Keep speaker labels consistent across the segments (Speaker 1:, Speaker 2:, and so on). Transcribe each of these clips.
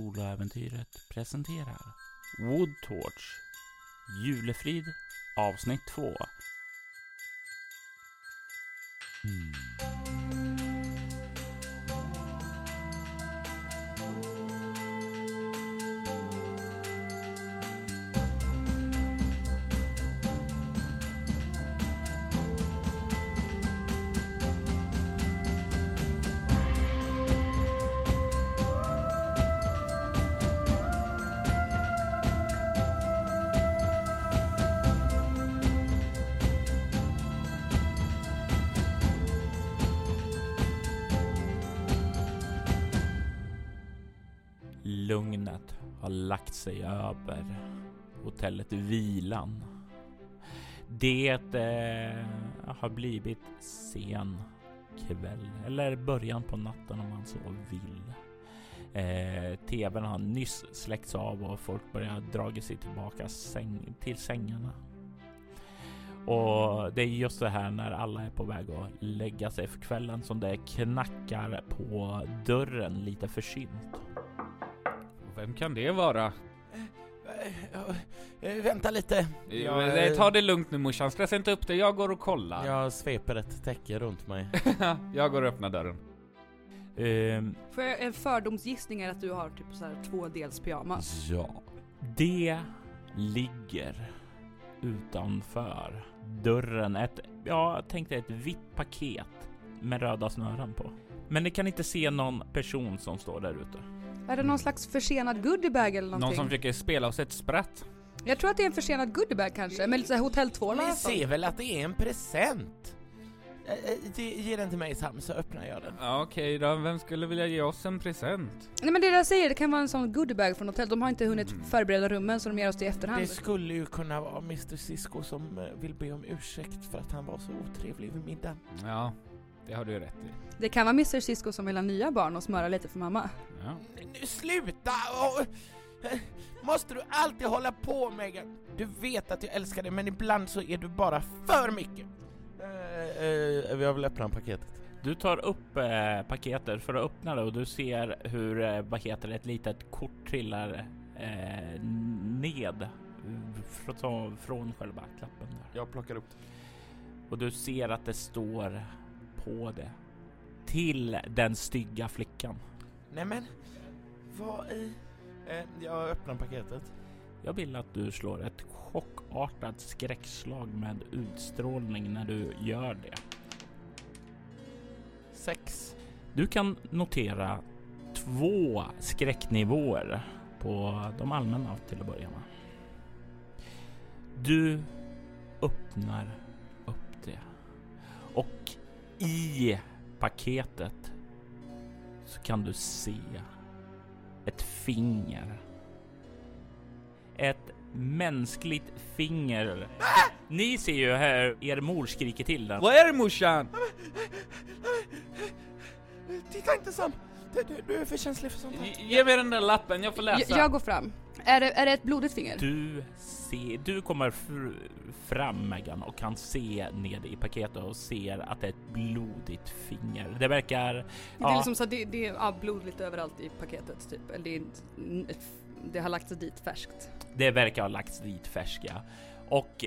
Speaker 1: Soloäventyret presenterar Woodtorch Julefrid avsnitt 2 Lugnet har lagt sig över hotellet Vilan. Det eh, har blivit sen kväll eller början på natten om man så vill. Eh, TVn har nyss släckts av och folk börjar dra sig tillbaka säng, till sängarna. Och det är just det här när alla är på väg att lägga sig för kvällen som det knackar på dörren lite försynt.
Speaker 2: Vem kan det vara?
Speaker 3: Eh, Vänta lite.
Speaker 2: Ja, Nej, Eh, ta det lugnt nu morsan, stressa inte upp dig, jag går och kollar.
Speaker 3: Jag sveper ett täcke runt mig.
Speaker 2: jag går och öppnar dörren.
Speaker 1: Ehm,
Speaker 4: För en fördomsgissning är att du har typ så här två dels pyjamas.
Speaker 3: ja.
Speaker 1: Det ligger utanför dörren ett, ja, jag tänkte ett vitt paket med röda snören på. Men ni kan inte se någon person som står där ute.
Speaker 4: Är det någon slags försenad goodiebag eller
Speaker 2: Någon
Speaker 4: någonting?
Speaker 2: som försöker spela oss ett spratt?
Speaker 4: Jag tror att det är en försenad goodiebag kanske, med lite så här liksom. hotelltvål i alla
Speaker 3: Ni
Speaker 4: fall.
Speaker 3: ser väl att det är en present? Eh, eh, Ge ge den till mig Sam så öppnar jag den.
Speaker 2: Ja, Okej då, vem skulle vilja ge oss en present?
Speaker 4: Nej men det jag säger, det kan vara en sån goodiebag från hotell. De har inte hunnit
Speaker 2: Mm.
Speaker 4: förbereda rummen så de ger oss det i efterhand.
Speaker 3: Det skulle ju kunna vara Mr Cisco som eh, vill be om ursäkt för att han var så otrevlig vid middagen.
Speaker 2: Ja, det har du rätt i.
Speaker 4: Det kan vara Mr Cisco som vill ha nya barn och smöra lite för mamma.
Speaker 2: Ja.
Speaker 3: N- Nu sluta! Åh, eh, Måste du alltid hålla på Megan? Du vet att jag älskar dig men ibland så är du bara för mycket. Uh, jag vill öppna paketet.
Speaker 1: Du tar upp eh, paketet för att öppna det och du ser hur, eh, vad heter det, ett litet kort trillar eh, ned från, från själva klappen där.
Speaker 5: Jag plockar upp det.
Speaker 1: och du ser att det står på det till den stygga flickan.
Speaker 3: Nej men, vad i... Eh, jag öppnar paketet.
Speaker 1: Jag vill att du slår ett chockartat skräckslag med utstrålning när du gör det.
Speaker 3: Sex.
Speaker 1: Du kan notera två skräcknivåer på de allmänna till att börja med. Du öppnar upp det och i paketet så kan du se ett finger. Ett mänskligt finger. Ni ser ju här, er mor skriker till den.
Speaker 2: Vad är det morsan?
Speaker 3: Titta inte Sam! Du, du, du är för känslig för sånt här.
Speaker 2: Ge- Ge mig den där lappen, jag får
Speaker 4: Jag,
Speaker 2: läsa.
Speaker 4: jag går fram. Är det, är det ett blodigt finger?
Speaker 1: Du, ser, du kommer fr- fram Megan och kan se ned i paketet och ser att det är ett blodigt finger. Det verkar...
Speaker 4: Det är
Speaker 1: Ja,
Speaker 4: liksom så att det, det är ja, blod lite överallt i paketet typ. Eller det, är, inte- n- f- det har lagt sig dit färskt.
Speaker 1: det verkar ha lagts dit färska. Och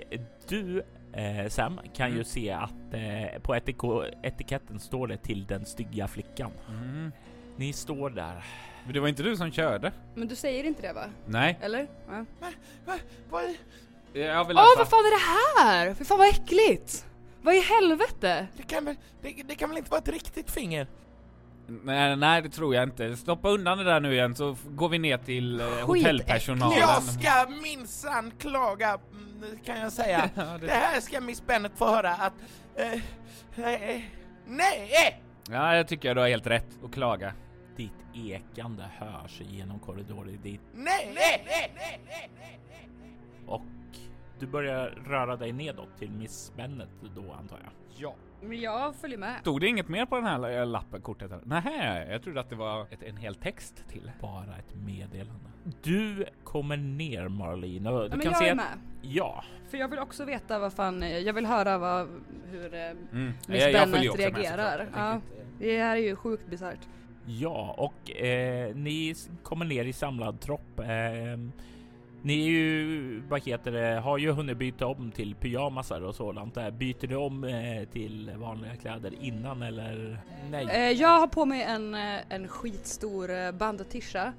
Speaker 1: du eh, Sam kan ju
Speaker 2: Mm.
Speaker 1: se att eh, på etik- etiketten står det till den stygga flickan.
Speaker 2: Mm.
Speaker 1: Ni står där.
Speaker 2: Men det var inte du som körde?
Speaker 4: Men du säger inte det va?
Speaker 2: Nej.
Speaker 4: Eller? Ja.
Speaker 3: Vad är
Speaker 2: Jag vill
Speaker 4: Åh
Speaker 2: läsa.
Speaker 4: vad fan är det här? Fy fan vad äckligt! Vad i helvete?
Speaker 3: det, kan väl, det, det kan väl inte vara ett riktigt finger?
Speaker 2: nej, nej, det tror jag inte. Stoppa undan det där nu igen så f- går vi ner till eh,
Speaker 3: Jag
Speaker 2: hotellpersonalen.
Speaker 3: ska minsann klaga, mm, kan jag säga.
Speaker 2: Ja, det-
Speaker 3: det här ska Miss Bennet få höra att... Eh, nej! Nej! eh,
Speaker 2: Ja, jag tycker du har helt rätt att klaga.
Speaker 1: Ditt ekande hörs genom korridoren. Ditt
Speaker 3: Nej! eh,
Speaker 1: och du börjar röra dig nedåt till Miss Bennet då antar jag.
Speaker 5: Ja.
Speaker 4: Men jag följer med.
Speaker 2: Stod det inget mer på den här eh, lappen, kortet? eller? Nähä, jag trodde att det var ett, en hel text till.
Speaker 1: bara ett meddelande. Du kommer ner Marlene och du
Speaker 4: Ja, men
Speaker 1: kan
Speaker 4: jag
Speaker 1: se
Speaker 4: är
Speaker 1: att-
Speaker 4: med.
Speaker 1: ja,
Speaker 4: För jag vill också veta vad fan, eh, jag vill höra vad, hur eh,
Speaker 2: Mm.
Speaker 4: Miss Bennet reagerar. ja,
Speaker 2: såklart.
Speaker 4: det här är ju sjukt bisarrt.
Speaker 1: Ja, och eh, ni s- kommer ner i samlad tropp. Eh, ni är ju, vad heter det, har ju hunnit byta om till pyjamasar och sådant där. Byter ni om eh, till vanliga kläder innan eller? Nej.
Speaker 4: Eh, jag har på mig en, eh, en skitstor eh, bandtisha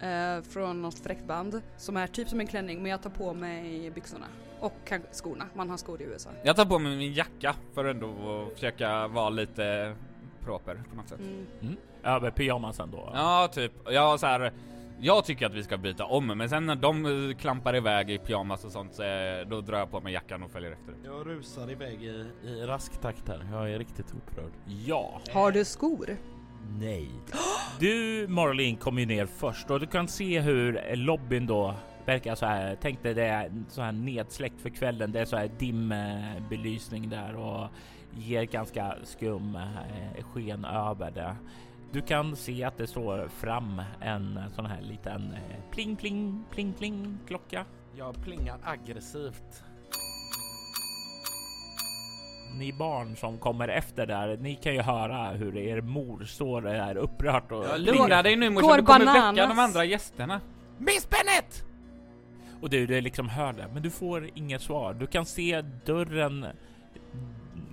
Speaker 4: eh, från något fräckt band som är typ som en klänning men jag tar på mig byxorna och kan- skorna. Man har skor i USA.
Speaker 2: Jag tar på mig min jacka för ändå att försöka vara lite proper på något sätt.
Speaker 4: Mm.
Speaker 1: Över pyjamasen då?
Speaker 2: Ja, typ. Jag så här. Jag tycker att vi ska byta om, men sen när de eh, klampar iväg i pyjamas och sånt, så eh, då drar jag på mig jackan och följer efter.
Speaker 3: Jag rusar iväg i, i rask takt här. Jag är riktigt upprörd.
Speaker 1: ja.
Speaker 4: Har du skor?
Speaker 3: Nej.
Speaker 1: Du Marlin kom ju ner först och du kan se hur eh, lobbyn då verkar så här. Tänkte det är så här nedsläckt för kvällen. Det är så här dimbelysning där och ger ganska skum eh, sken över det. Du kan se att det står fram en sån här liten eh, pling pling pling pling klocka.
Speaker 3: Jag plingar aggressivt.
Speaker 1: Ni barn som kommer efter där, ni kan ju höra hur er mor står där upprört och
Speaker 2: Lugna dig nu morsan,
Speaker 4: Går
Speaker 2: du kommer väcka
Speaker 4: bananas?
Speaker 2: de andra gästerna.
Speaker 3: Miss Bennet!
Speaker 1: Och du, du liksom hör det, men du får inget svar. Du kan se dörren,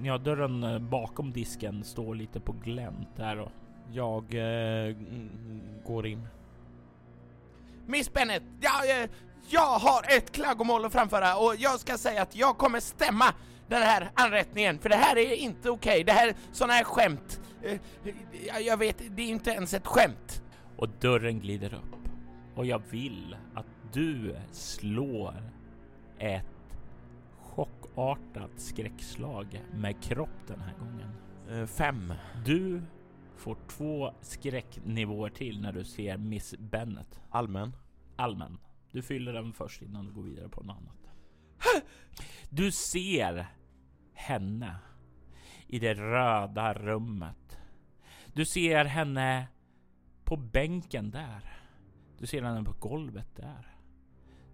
Speaker 1: ja dörren eh, bakom disken står lite på glänt där och
Speaker 3: Jag eh, mm, går in. Miss Bennet! Jag, eh, jag har ett klagomål att framföra och jag ska säga att jag kommer stämma den här anrättningen för det här är inte okej. Det här, sådana här skämt. Eh, jag- jag vet, det är inte ens ett skämt.
Speaker 1: Och dörren glider upp. Och jag vill att du slår ett chockartat skräckslag med kropp den här gången.
Speaker 3: Eh, fem.
Speaker 1: Du får två skräcknivåer till när du ser Miss Bennet.
Speaker 3: Allmän.
Speaker 1: allmän. Du fyller den först innan du går vidare på något annat. Du ser henne i det röda rummet. Du ser henne på bänken där. Du ser henne på golvet där.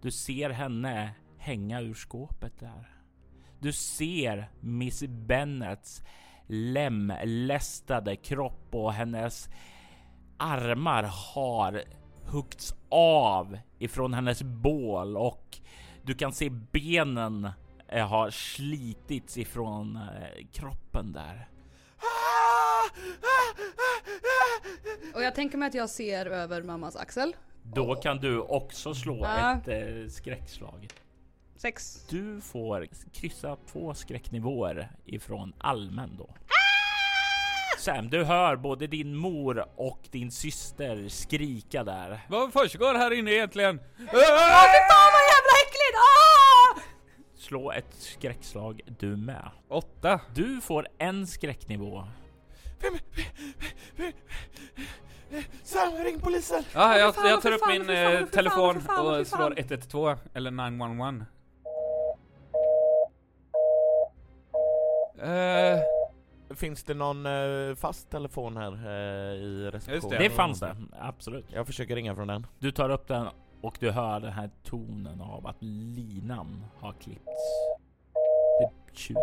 Speaker 1: Du ser henne hänga ur skåpet där. Du ser Miss Bennets lemlästade kropp och hennes armar har huggts av ifrån hennes bål och du kan se benen eh, har slitits ifrån eh, kroppen där.
Speaker 4: Och jag tänker mig att jag ser över mammas axel.
Speaker 1: Då kan du också slå
Speaker 4: Ja.
Speaker 1: ett eh, skräckslag.
Speaker 4: Sex.
Speaker 1: Du får kryssa två skräcknivåer ifrån allmän då. Sam, du hör både din mor och din syster skrika där.
Speaker 2: Vad försiggår här inne egentligen?
Speaker 4: Fan vad jävla äckligt! Ah!
Speaker 1: Slå ett skräckslag du med.
Speaker 2: Åtta.
Speaker 1: Du får en skräcknivå
Speaker 3: Sam, ring polisen!
Speaker 2: Ja, jag,
Speaker 4: för fan,
Speaker 2: jag tar
Speaker 4: för
Speaker 2: upp
Speaker 4: fan,
Speaker 2: min
Speaker 4: för fan,
Speaker 2: eh,
Speaker 4: för fan,
Speaker 2: telefon
Speaker 4: för fan, för
Speaker 2: och slår
Speaker 4: fan.
Speaker 2: 112 eller 911. Eh,
Speaker 3: Finns det någon eh, fast telefon här eh, i receptionen?
Speaker 1: Det fanns det, absolut.
Speaker 3: Jag försöker ringa från den.
Speaker 1: Du tar upp den och du hör den här tonen av att linan har klippts. Det tjuter.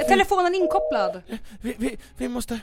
Speaker 4: Är telefonen inkopplad?
Speaker 3: Vi, vi, vi måste,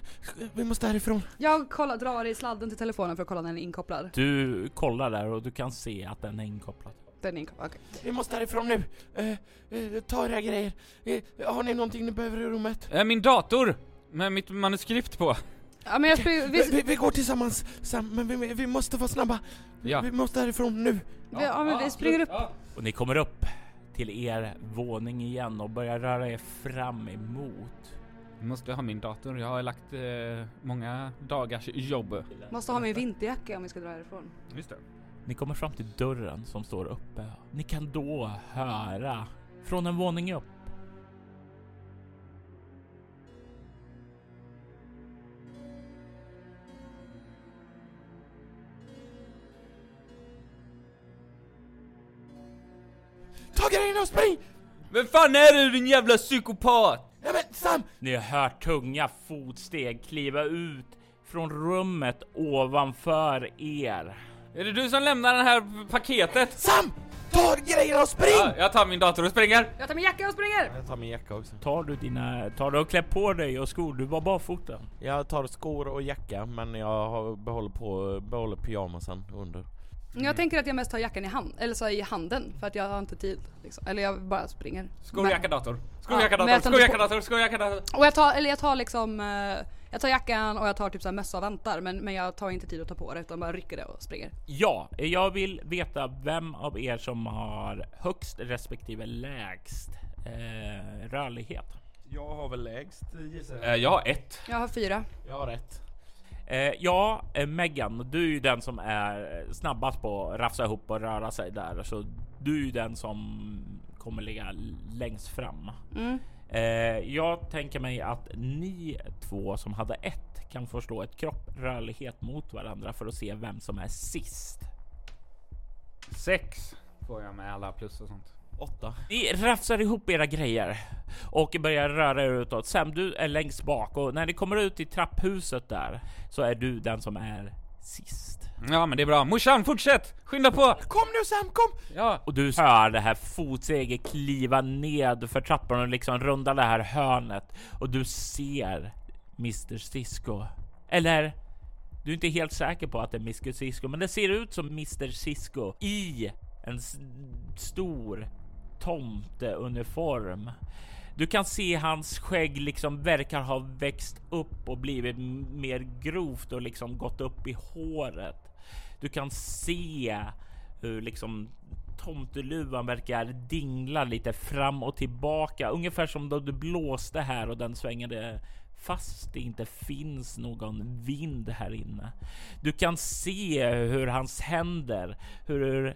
Speaker 3: vi måste härifrån.
Speaker 4: Jag kollar, drar i sladden till telefonen för att kolla när den är inkopplad.
Speaker 1: Du kollar där och du kan se att den är inkopplad.
Speaker 4: Den är inkopplad, okej.
Speaker 3: Vi måste härifrån nu. Eh, eh, ta era grejer. Eh, har ni någonting ni behöver i rummet?
Speaker 2: eh, min dator! Med mitt manuskript på.
Speaker 4: Ja men jag springer,
Speaker 3: Vi,
Speaker 4: vi,
Speaker 3: vi, vi går tillsammans Sam, men vi, vi måste vara snabba.
Speaker 2: Ja.
Speaker 3: Vi måste härifrån nu.
Speaker 4: vi, ja, men vi springer upp.
Speaker 2: Ja.
Speaker 1: Och ni kommer upp till er våning igen och börjar röra er fram emot.
Speaker 2: Jag måste ha min dator, jag har lagt eh, många dagars jobb.
Speaker 4: Måste ha min vinterjacka om vi ska dra härifrån.
Speaker 2: Just det.
Speaker 1: Ni kommer fram till dörren som står uppe. Ni kan då höra från en våning upp.
Speaker 3: Ta grejerna och spring!
Speaker 2: Vem fan är du din jävla psykopat?
Speaker 3: Ja, men Sam!
Speaker 1: Ni hör tunga fotsteg kliva ut från rummet ovanför er.
Speaker 2: Är det du som lämnar det här paketet?
Speaker 3: Sam! Ta tar grejerna och spring!
Speaker 2: Ja, jag tar min dator och springer!
Speaker 4: Jag tar min jacka och springer!
Speaker 3: Jag tar min jacka också.
Speaker 1: Tar du dina... Tar du och klär på dig och skor? Du var barfota.
Speaker 3: Jag tar skor och jacka men jag har- behåller, på, behåller pyjamasen under.
Speaker 4: Jag tänker att jag mest har jackan i, hand, eller så här i handen för att jag har inte tid. Liksom. Eller jag bara springer.
Speaker 2: Skor, jacka, dator. Skor,
Speaker 4: Ja,
Speaker 2: jacka,
Speaker 4: men
Speaker 2: dator.
Speaker 4: jag tar
Speaker 2: Skor,
Speaker 4: inte
Speaker 2: jacka,
Speaker 4: på-
Speaker 2: dator. Skor, jacka, dator.
Speaker 4: Och jag tar, eller jag tar liksom, eh, jag tar jackan och jag tar typ så här mössa och vantar men, men jag tar inte tid att ta på det utan bara rycker det och springer.
Speaker 1: Ja, jag vill veta vem av er som har högst respektive lägst eh, rörlighet.
Speaker 3: Jag har väl lägst gissar
Speaker 2: Eh, Jag har ett.
Speaker 4: Jag har fyra.
Speaker 3: Jag har rätt.
Speaker 1: Eh, ja, eh, Megan, du är ju den som är snabbast på att rafsa ihop och röra sig där, så du är ju den som kommer ligga l- längst fram.
Speaker 4: Mm.
Speaker 1: Eh, jag tänker mig att ni två som hade ett kan få slå ett kropp rörlighet mot varandra för att se vem som är sist.
Speaker 2: Sex får jag med alla plus och sånt.
Speaker 3: Åtta.
Speaker 1: Ni rafsar ihop era grejer och börjar röra er utåt. Sam, du är längst bak och när ni kommer ut i trapphuset där så är du den som är sist.
Speaker 2: Ja men det är bra. Morsan fortsätt! Skynda på!
Speaker 3: Kom nu Sam, kom!
Speaker 2: Ja.
Speaker 1: Och du hör det här fotsteget kliva ned för trappan och liksom runda det här hörnet. Och du ser Mr Cisco. Eller? Du är inte helt säker på att det är Mr Cisco, men det ser ut som Mr Cisco i en s- stor tomteuniform. Du kan se hans skägg liksom verkar ha växt upp och blivit m- mer grovt och liksom gått upp i håret. Du kan se hur liksom tomteluvan verkar dingla lite fram och tillbaka. Ungefär som då du blåste här och den svängade fast det inte finns någon vind här inne. Du kan se hur hans händer, hur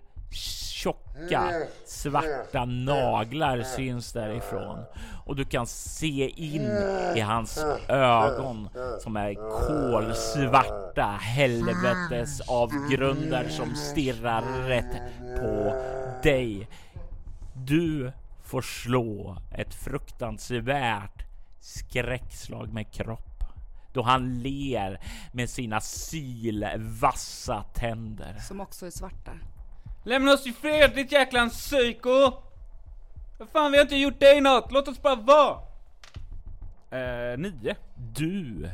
Speaker 1: tjocka svarta naglar syns därifrån. Och du kan se in i hans ögon som är kolsvarta helvetes avgrunder som stirrar rätt på dig. Du får slå ett fruktansvärt skräckslag med kropp då han ler med sina sylvassa tänder.
Speaker 4: Som också är svarta.
Speaker 2: Lämna oss i fred ditt jäkla psyko! Vad fan vi har inte gjort dig något, låt oss bara vara! Eh, nio.
Speaker 1: Du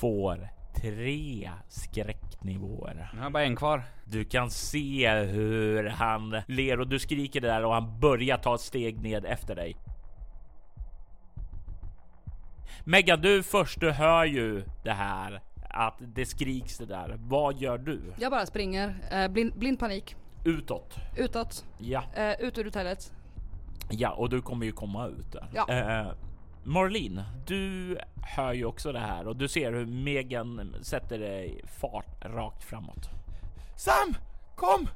Speaker 1: får tre skräcknivåer.
Speaker 2: Jag har bara en kvar.
Speaker 1: Du kan se hur han ler och du skriker där och han börjar ta ett steg ned efter dig. Megan, du först, du hör ju det här att det skriks det där. Vad gör du?
Speaker 4: Jag bara springer, eh, blind, blind panik.
Speaker 1: Utåt.
Speaker 4: Utåt,
Speaker 1: Ja,
Speaker 4: eh, ut ur hotellet.
Speaker 1: ja, och du kommer ju komma ut där.
Speaker 4: Ja.
Speaker 1: Eh, Marlene, du hör ju också det här och du ser hur Megan sätter dig fart rakt framåt.
Speaker 3: Sam! Kom!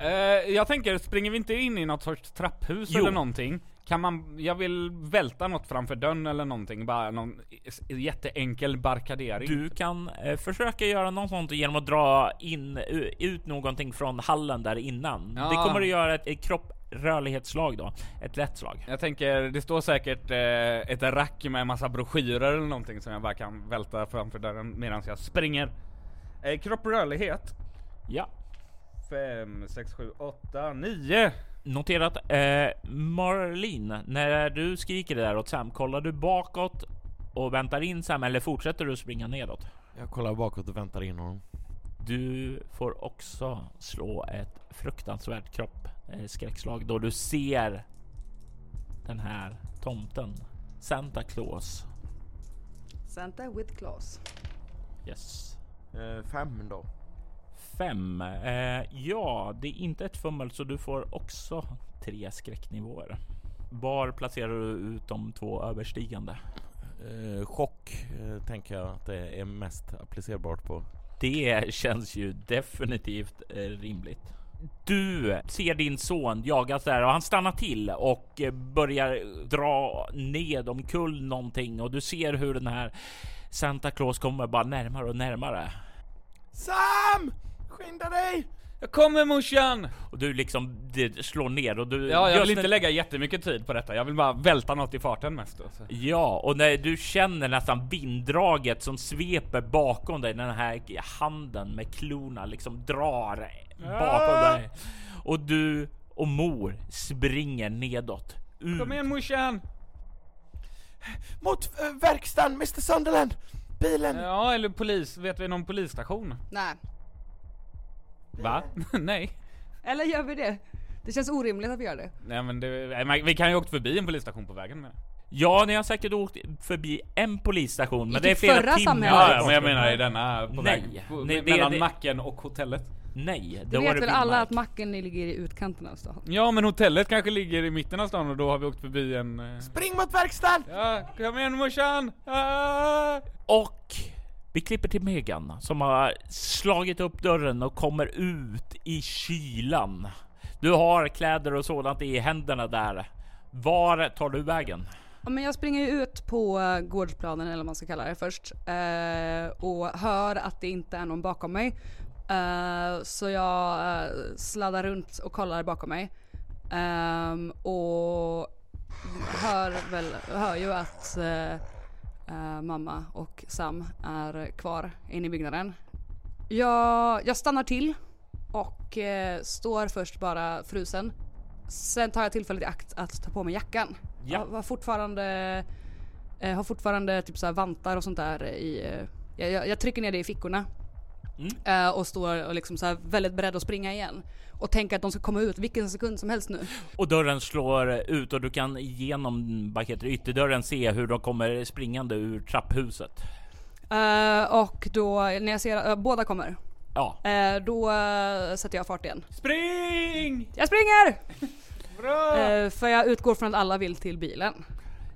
Speaker 2: Eh, jag tänker, springer vi inte in i något sorts trapphus
Speaker 1: Jo.
Speaker 2: eller någonting? Kan man, jag vill välta något framför dörren eller någonting, bara någon s- jätteenkel barkadering.
Speaker 1: Du kan eh, försöka göra något sånt genom att dra in u- ut någonting från hallen där innan.
Speaker 2: Ja.
Speaker 1: Det kommer att göra ett, ett kropprörlighetsslag då. Ett lätt slag.
Speaker 2: Jag tänker, det står säkert eh, ett rack med en massa broschyrer eller någonting som jag bara kan välta framför dörren medan jag springer. Eh, kropp och rörlighet.
Speaker 1: Ja.
Speaker 2: 5, 6, 7, 8, 9.
Speaker 1: Noterat. Eh, Marlene, när du skriker det där åt Sam, kollar du bakåt och väntar in Sam eller fortsätter du springa nedåt?
Speaker 3: Jag kollar bakåt och väntar in honom.
Speaker 1: Du får också slå ett fruktansvärt kropp eh, skräckslag då du ser den här tomten. Santa Claus.
Speaker 4: Santa with claws.
Speaker 1: Yes.
Speaker 3: Eh, fem då.
Speaker 1: Fem. Eh, ja, det är inte ett fummel så du får också tre skräcknivåer. Var placerar du ut de två överstigande?
Speaker 3: chock eh, tänker jag att det är mest applicerbart på.
Speaker 1: Det känns ju definitivt eh, rimligt. Du ser din son jagas där och han stannar till och eh, börjar dra ned omkull någonting och du ser hur den här Santa Claus kommer bara närmare och närmare.
Speaker 3: Sam! Skynda dig!
Speaker 2: Jag kommer morsan!
Speaker 1: Och du liksom det slår ner och du...
Speaker 2: Ja, jag
Speaker 1: just
Speaker 2: vill inte
Speaker 1: när-
Speaker 2: lägga jättemycket tid på detta. Jag vill bara välta något i farten mest. Alltså.
Speaker 1: Ja, och när du känner nästan vinddraget som sveper bakom dig, den här handen med klorna liksom drar
Speaker 2: Ah!
Speaker 1: bakom dig. Och du och mor springer nedåt. Ut.
Speaker 2: Kom igen morsan!
Speaker 3: Mot eh, verkstaden, Mr Sunderland! Bilen!
Speaker 2: Ja, eller polis. Vet vi någon polisstation?
Speaker 4: Nej.
Speaker 2: Va? Nej.
Speaker 4: Eller gör vi det? Det känns orimligt att vi gör det.
Speaker 2: Nej men det, nej, men vi kan ju ha åkt förbi en polisstation på vägen med.
Speaker 1: Ja, ni har säkert åkt förbi en polisstation, men
Speaker 4: I
Speaker 1: det är
Speaker 4: ditt
Speaker 1: flera
Speaker 4: förra
Speaker 1: timmar.
Speaker 4: samhälle.
Speaker 2: Ja,
Speaker 4: ja,
Speaker 2: men jag menar i denna på
Speaker 1: Nej.
Speaker 2: väg. På,
Speaker 1: Nej, det-
Speaker 2: mellan
Speaker 1: det-
Speaker 2: macken och hotellet.
Speaker 1: Nej,
Speaker 4: Det
Speaker 1: då var
Speaker 4: vet
Speaker 1: det
Speaker 4: väl alla att
Speaker 1: vildmark.
Speaker 4: macken ligger i utkanten av stan.
Speaker 2: Ja men hotellet kanske ligger i mitten av stan och då har vi åkt förbi en... eh,
Speaker 3: Spring mot verkstaden!
Speaker 2: Ja, kom igen morsan! Ah!
Speaker 1: Och vi klipper till Megan som har slagit upp dörren och kommer ut i kylan. Du har kläder och sådant i händerna där. Var tar du vägen?
Speaker 4: Ja, men jag springer ju ut på eh, gårdsplanen eller vad man ska kalla det först eh, och hör att det inte är någon bakom mig. Eh, Så jag eh, sladdar runt och kollar bakom mig. Ehm, Och hör, väl, hör ju att eh, eh, mamma och Sam är kvar inne i byggnaden. Jag, jag stannar till och eh, står först bara frusen. Sen tar jag tillfället i akt att ta på mig jackan.
Speaker 1: Ja.
Speaker 4: Jag var fortfarande, eh, har fortfarande typ så här vantar och sånt där i... eh, Jag, jag, jag trycker ner det i fickorna. Eh, och står och liksom så här väldigt beredd att springa igen. Och tänker att de ska komma ut vilken sekund som helst nu.
Speaker 1: Och dörren slår ut och du kan genom vad heter det, ytterdörren se hur de kommer springande ur trapphuset.
Speaker 4: Eh, och då, när jag ser att eh, båda kommer,
Speaker 1: Ja,
Speaker 4: eh, då eh, sätter jag fart igen.
Speaker 2: Spring!
Speaker 4: Jag springer!
Speaker 2: Bra!
Speaker 4: Eh, för jag utgår från att alla vill till bilen.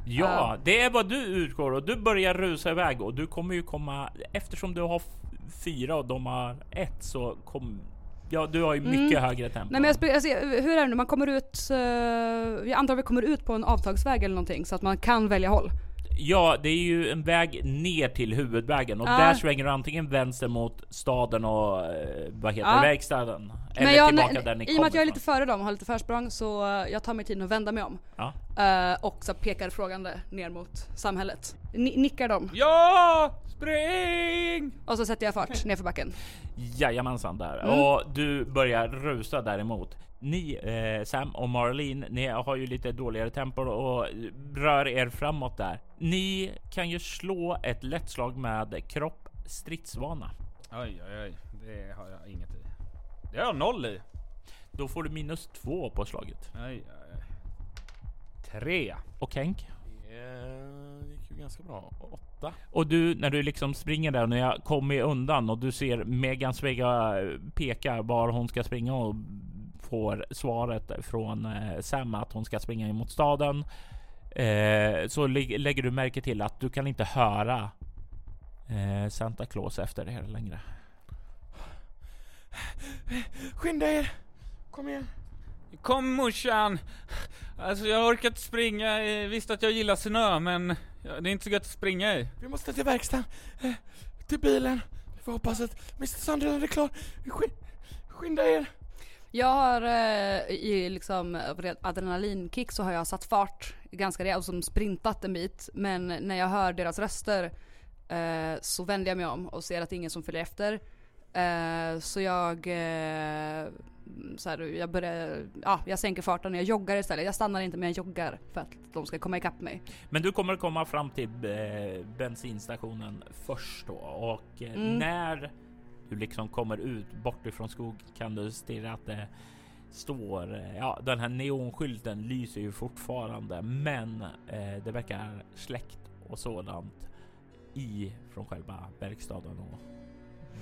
Speaker 1: ja, det är vad du utgår och du börjar rusa iväg och du kommer ju komma eftersom du har f- fyra och de har ett så kom Ja, du har ju mycket högre tempo.
Speaker 4: Mm. Nej men jag spring, alltså, hur är det nu, man kommer ut, eh, jag antar att vi kommer ut på en avtagsväg eller någonting så att man kan välja håll.
Speaker 1: Ja, det är ju en väg ner till huvudvägen och
Speaker 4: Ja.
Speaker 1: där svänger du antingen vänster mot staden och eh, vad heter
Speaker 4: Ja.
Speaker 1: det, verkstaden. Eller
Speaker 4: men jag,
Speaker 1: tillbaka
Speaker 4: nej,
Speaker 1: där ni
Speaker 4: I och med att jag
Speaker 1: ifrån.
Speaker 4: är lite före dem och har lite försprång så eh, jag tar mig tiden att vända mig om.
Speaker 1: Ja.
Speaker 4: Eh, och så pekar frågande ner mot samhället. Ni, nickar dem
Speaker 2: Ja! Spring!
Speaker 4: och så sätter jag fart nerför backen.
Speaker 1: Jajamensan där.
Speaker 4: Mm.
Speaker 1: Och du börjar rusa däremot. Ni, eh, Sam och Marlene, ni har ju lite dåligare tempo och rör er framåt där. Ni kan ju slå ett lätt slag med kropp stridsvana.
Speaker 2: Oj oj oj, det har jag inget i. Det har jag noll i.
Speaker 1: Då får du minus två på slaget.
Speaker 2: Oj, oj, oj. Tre.
Speaker 1: Och Henk?
Speaker 3: Det gick ju ganska bra. Åtta.
Speaker 1: Och du, när du liksom springer där, när jag kommer undan och du ser Megan Svega peka var hon ska springa och får svaret från eh, Sam att hon ska springa in mot staden. Eh, så lä- lägger du märke till att du kan inte höra eh, Santa Claus efter er längre.
Speaker 3: Skynda er! Kom igen.
Speaker 2: Kom morsan! Alltså jag har orkat springa, eh, visst att jag gillar snö men ja, det är inte så gött att springa i.
Speaker 3: Vi måste till verkstaden. Eh, till bilen. Vi får hoppas att Mr Sunderland är klar. Sky- skynda er!
Speaker 4: Jag har eh, i liksom red- adrenalinkick så har jag satt fart ganska rejält och som sprintat en bit. Men när jag hör deras röster eh, så vänder jag mig om och ser att det är ingen som följer efter. Eh, så jag, eh, så här, jag börjar, ja jag sänker farten och jag joggar istället. Jag stannar inte men jag joggar för att de ska komma ikapp mig.
Speaker 1: Men du kommer att komma fram till eh, bensinstationen först då och eh,
Speaker 4: Mm.
Speaker 1: när du liksom kommer ut bort ifrån skog kan du stirra att det står, eh, ja den här neonskylten lyser ju fortfarande men eh, det verkar släckt och sådant i från själva verkstaden och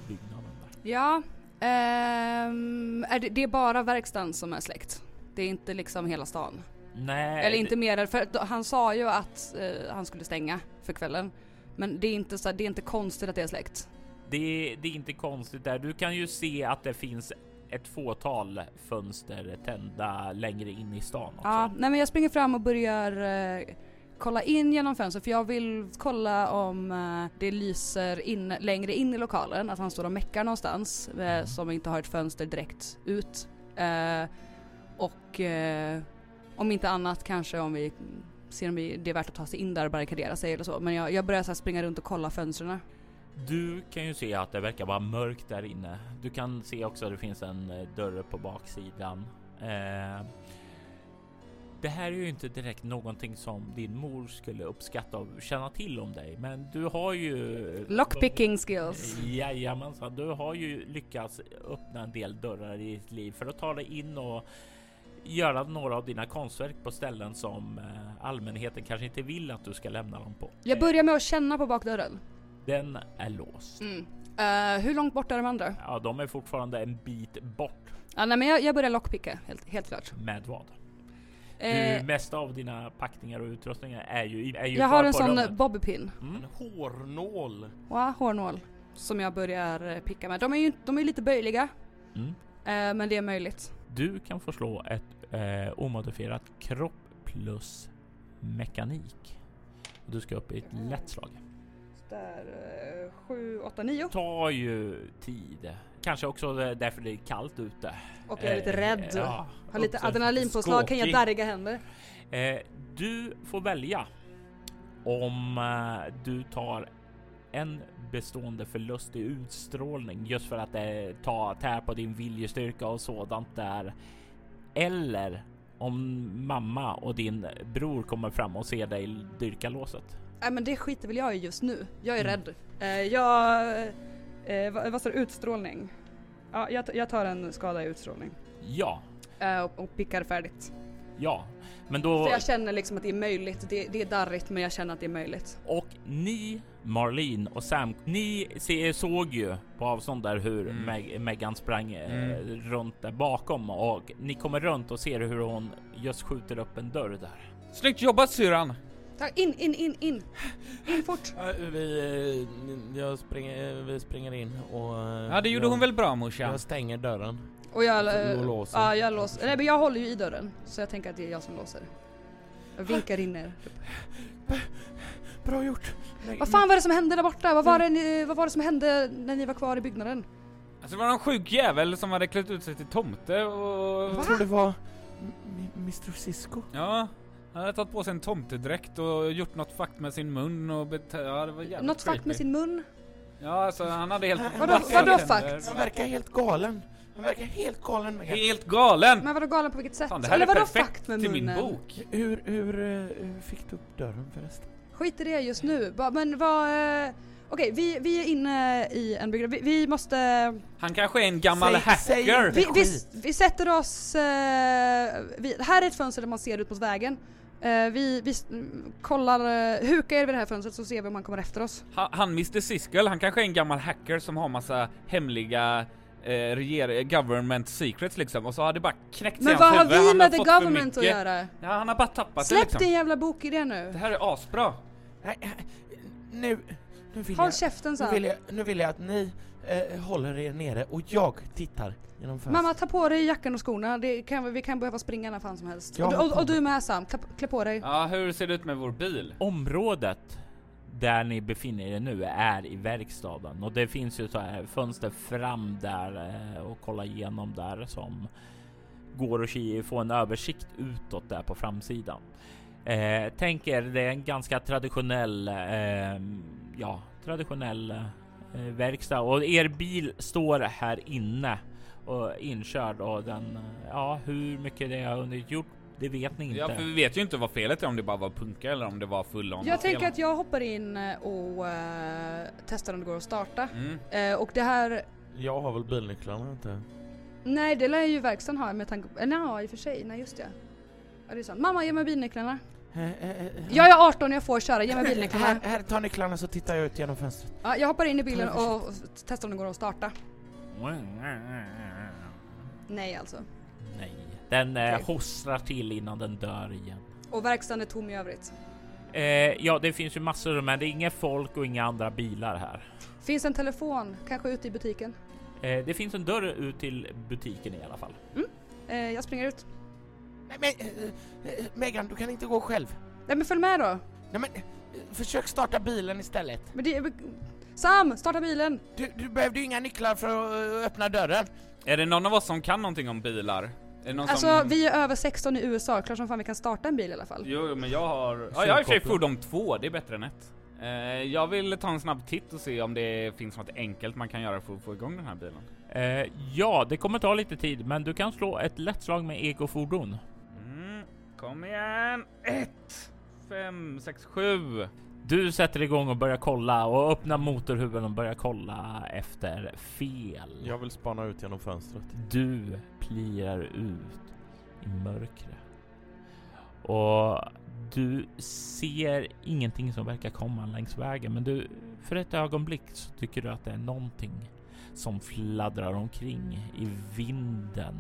Speaker 1: byggnaden där.
Speaker 4: Ja, ehm, är det, det är bara verkstaden som är släkt. Det är inte liksom hela stan.
Speaker 1: Nej,
Speaker 4: Eller inte mer, för att han sa ju att eh, han skulle stänga för kvällen. Men det är inte, så, det är inte konstigt att det är släkt.
Speaker 1: Det, det är inte konstigt där. Du kan ju se att det finns ett fåtal fönster tända längre in i stan också.
Speaker 4: Ja, nej men jag springer fram och börjar eh, kolla in genom fönstret för jag vill kolla om eh, det lyser in, längre in i lokalen, att han står och meckar någonstans eh, som inte har ett fönster direkt ut. Eh, och eh, om inte annat kanske om vi ser om vi- det är värt att ta sig in där och barrikadera sig eller så. Men jag, jag börjar så här springa runt och kolla fönstren.
Speaker 1: Du kan ju se att det verkar vara mörkt där inne. Du kan se också att det finns en eh, dörr på baksidan. Eh, det här är ju inte direkt någonting som din mor skulle uppskatta och känna till om dig, men du har ju... Eh,
Speaker 4: Lockpicking skills.
Speaker 1: Jajamensan, du har ju lyckats öppna en del dörrar i ditt liv för att ta dig in och göra några av dina konstverk på ställen som eh, allmänheten kanske inte vill att du ska lämna dem på.
Speaker 4: Jag börjar med att känna på bakdörren.
Speaker 1: Den är låst.
Speaker 4: Mm. Eh, hur långt bort är de andra?
Speaker 1: Ja, de är fortfarande en bit bort.
Speaker 4: Ja, nej, men jag, jag börjar lockpicka, helt, helt klart.
Speaker 1: Med vad?
Speaker 4: Eh,
Speaker 1: du, mesta av dina packningar och utrustningar är ju, är ju
Speaker 4: jag
Speaker 1: kvar
Speaker 4: har en
Speaker 1: på
Speaker 4: sån
Speaker 1: rummet.
Speaker 4: bobbypin,
Speaker 1: Mm.
Speaker 3: En hårnål.
Speaker 4: ja, hårnål, som jag börjar eh, picka med. De är ju de är ju lite böjliga,
Speaker 1: Mm.
Speaker 4: eh, men det är möjligt.
Speaker 1: Du kan få slå ett eh, omodifierat kropp plus mekanik. Och Du ska upp i ett lätt slag.
Speaker 4: Där, eh, 7, 8, 9.
Speaker 1: Tar ju tid. Kanske också det- därför det är kallt ute.
Speaker 4: Och jag är lite
Speaker 1: Eh,
Speaker 4: rädd.
Speaker 1: ja.
Speaker 4: Har lite
Speaker 1: Också
Speaker 4: adrenalinpåslag, kan jag
Speaker 1: skakig.
Speaker 4: darriga händer?
Speaker 1: Eh, du får välja om eh, du tar en bestående förlust i utstrålning just för att eh, ta tär på din viljestyrka och sådant där. Eller om mamma och din bror kommer fram och ser dig dyrka låset.
Speaker 4: Nej men det skiter väl jag i just nu. Jag är
Speaker 1: Mm.
Speaker 4: rädd. Eh, jag... Eh, vad, vad står det? Utstrålning? Ja, jag, t- jag tar en skada i utstrålning.
Speaker 1: Ja,
Speaker 4: Eh, och, och pickar färdigt.
Speaker 1: ja, men då.
Speaker 4: För jag känner liksom att det är möjligt. Det, det är darrigt men jag känner att det är möjligt.
Speaker 1: Och ni, Marlene och Sam, ni se, såg ju på avstånd där hur
Speaker 2: Mm.
Speaker 1: Meg, Megan sprang eh,
Speaker 2: Mm.
Speaker 1: runt där bakom och ni kommer runt och ser hur hon just skjuter upp en dörr där.
Speaker 2: Snyggt jobbat syrran!
Speaker 4: Ta in, in, in, in! In fort!
Speaker 3: Ja, Vi, eh, jag springer, eh, vi springer in och... eh,
Speaker 2: Ja det gjorde
Speaker 3: jag,
Speaker 2: hon väl bra morsan?
Speaker 3: Jag stänger dörren.
Speaker 4: Och jag...
Speaker 2: Alltså,
Speaker 4: eh,
Speaker 3: Du låser.
Speaker 4: Ja, jag låser. Nej men jag håller ju i dörren. Så jag tänker att det är jag som låser. Jag vinkar in er.
Speaker 3: Bra gjort!
Speaker 4: Vad fan var det som hände där borta? Vad var det, ni, vad var det som hände när ni var kvar i byggnaden?
Speaker 2: Alltså det var någon sjuk jävel som hade klätt ut sig till tomte och...
Speaker 3: Jag tror det var M- Mr Cisco.
Speaker 2: Ja, han hade tagit på sig en tomtedräkt och gjort något fakt med sin mun och bete... Ja det var jävligt
Speaker 4: Något fakt med
Speaker 2: creepy.
Speaker 4: sin mun?
Speaker 2: Ja alltså han hade helt...
Speaker 3: Vadå-
Speaker 2: vackra
Speaker 3: vadå
Speaker 2: tänder.
Speaker 4: fakt?
Speaker 3: Han verkar helt galen. Han verkar helt galen med
Speaker 2: Helt galen!
Speaker 4: Men vadå galen på vilket sätt?
Speaker 2: Fan det här är
Speaker 4: Eller vadå
Speaker 2: perfekt
Speaker 4: fakt med
Speaker 2: till min
Speaker 4: munnen?
Speaker 2: bok.
Speaker 3: hur, hur, eh, hur fick du upp dörren förresten?
Speaker 4: Skit i det just nu. Ba- Men vad... eh, Okej, vi, vi är inne i en byggnad. Vi, vi måste...
Speaker 2: Han kanske är en gammal
Speaker 3: Säg- säg
Speaker 2: hacker.
Speaker 4: Vi, vi,
Speaker 3: skit.
Speaker 4: vi sätter oss... eh, vi, här är ett fönster där man ser ut mot vägen. Eh, vi vi s- mm, kollar... eh, huka er vid det här fönstret så ser vi om han kommer efter oss.
Speaker 2: Han, han Mr Siskel, han kanske är en gammal hacker som har massa hemliga eh, reger- government secrets liksom och så har det bara knäckt sig i
Speaker 4: Men
Speaker 2: hans
Speaker 4: vad har
Speaker 2: huvud.
Speaker 4: vi
Speaker 2: Han
Speaker 4: med the
Speaker 2: fått för
Speaker 4: government att
Speaker 2: mycket-
Speaker 4: göra?
Speaker 2: Ja, han har bara tappat det
Speaker 4: Släpp
Speaker 2: liksom.
Speaker 4: din jävla bok i det
Speaker 2: Det
Speaker 4: nu.
Speaker 2: här är asbra.
Speaker 3: Nej, eh, nu, nu vill
Speaker 4: Håll
Speaker 3: jag...
Speaker 4: käften
Speaker 3: Nu vill
Speaker 4: sa
Speaker 3: jag, nu vill jag att ni eh, håller er nere och jag tittar genom fönstret.
Speaker 4: Mamma ta på dig jackan och skorna, det kan, vi kan behöva springa när fan som helst.
Speaker 3: Ja,
Speaker 4: Och, du- och,
Speaker 3: men-
Speaker 4: och du med Sam, klä, klä på dig.
Speaker 2: Ja, hur ser det ut med vår bil?
Speaker 1: Området där ni befinner er nu är i verkstaden och det finns ju så här fönster fram där eh, och kolla igenom där som går att ki- få en översikt utåt där på framsidan. Eh, tänker det är en ganska traditionell, eh, ja traditionell eh, verkstad och er bil står här inne och inkörd och den, eh, ja hur mycket det har hunnit gjort, det vet ni inte.
Speaker 2: Ja, för vi vet ju inte vad felet är om det bara var punka eller om det var full on
Speaker 4: Jag
Speaker 2: fel.
Speaker 4: tänker att jag hoppar in och eh, testar om det går att starta.
Speaker 2: Mm.
Speaker 4: Eh, och det här,
Speaker 3: Jag har väl bilnycklarna inte?
Speaker 4: nej det lär ju verkstaden ha med tanke på, eh, nej i och för sig, nej just det. Ja det är sant. Mamma ge mig bilnycklarna.
Speaker 3: Eh, eh, eh,
Speaker 4: Jag är 18 och jag får köra, ge mig
Speaker 3: här,
Speaker 4: bilnycklarna.
Speaker 3: här, ta nycklarna så tittar jag ut genom fönstret.
Speaker 4: Ja, jag hoppar in i bilen och testar om det går att starta. Nej alltså.
Speaker 1: Nej, den eh,
Speaker 4: Okej.
Speaker 1: hostrar till innan den dör igen.
Speaker 4: Och verkstaden är tom i övrigt.
Speaker 1: Eh, ja, det finns ju massor, men det är inga folk och inga andra bilar här.
Speaker 4: Finns en telefon, kanske ute i butiken.
Speaker 1: Eh, det finns en dörr ut till butiken i alla fall.
Speaker 4: Eh, jag springer ut.
Speaker 3: Nej men, eh, eh, Megan du kan inte gå själv.
Speaker 4: Nej men följ med då.
Speaker 3: Nej men, eh, försök starta bilen istället.
Speaker 4: Men det, Sam, starta bilen!
Speaker 3: Du, du behövde ju inga nycklar för att eh, öppna dörren.
Speaker 2: Är det någon av oss som kan någonting om bilar? Är det någon
Speaker 4: Alltså
Speaker 2: som...
Speaker 4: vi är över 16 i USA, klart som fan vi kan starta en bil i alla fall.
Speaker 2: Jo, jo, men jag har... Ja, jag har i och för sig
Speaker 1: Surkopplad.
Speaker 2: fordon två, det är bättre än ett. Eh, jag vill ta en snabb titt och se om det finns något enkelt man kan göra för att få igång den här bilen.
Speaker 1: Eh, ja, det kommer ta lite tid, men du kan slå ett lätt slag med ekofordon.
Speaker 2: Mm, kom igen! Ett, fem, sex, sju.
Speaker 1: Du sätter igång och börjar kolla och öppnar motorhuven och börjar kolla efter fel.
Speaker 5: Jag vill spana ut genom fönstret.
Speaker 1: Du plirar ut i mörkret. Och du ser ingenting som verkar komma längs vägen, men du, för ett ögonblick så tycker du att det är någonting som fladdrar omkring i vinden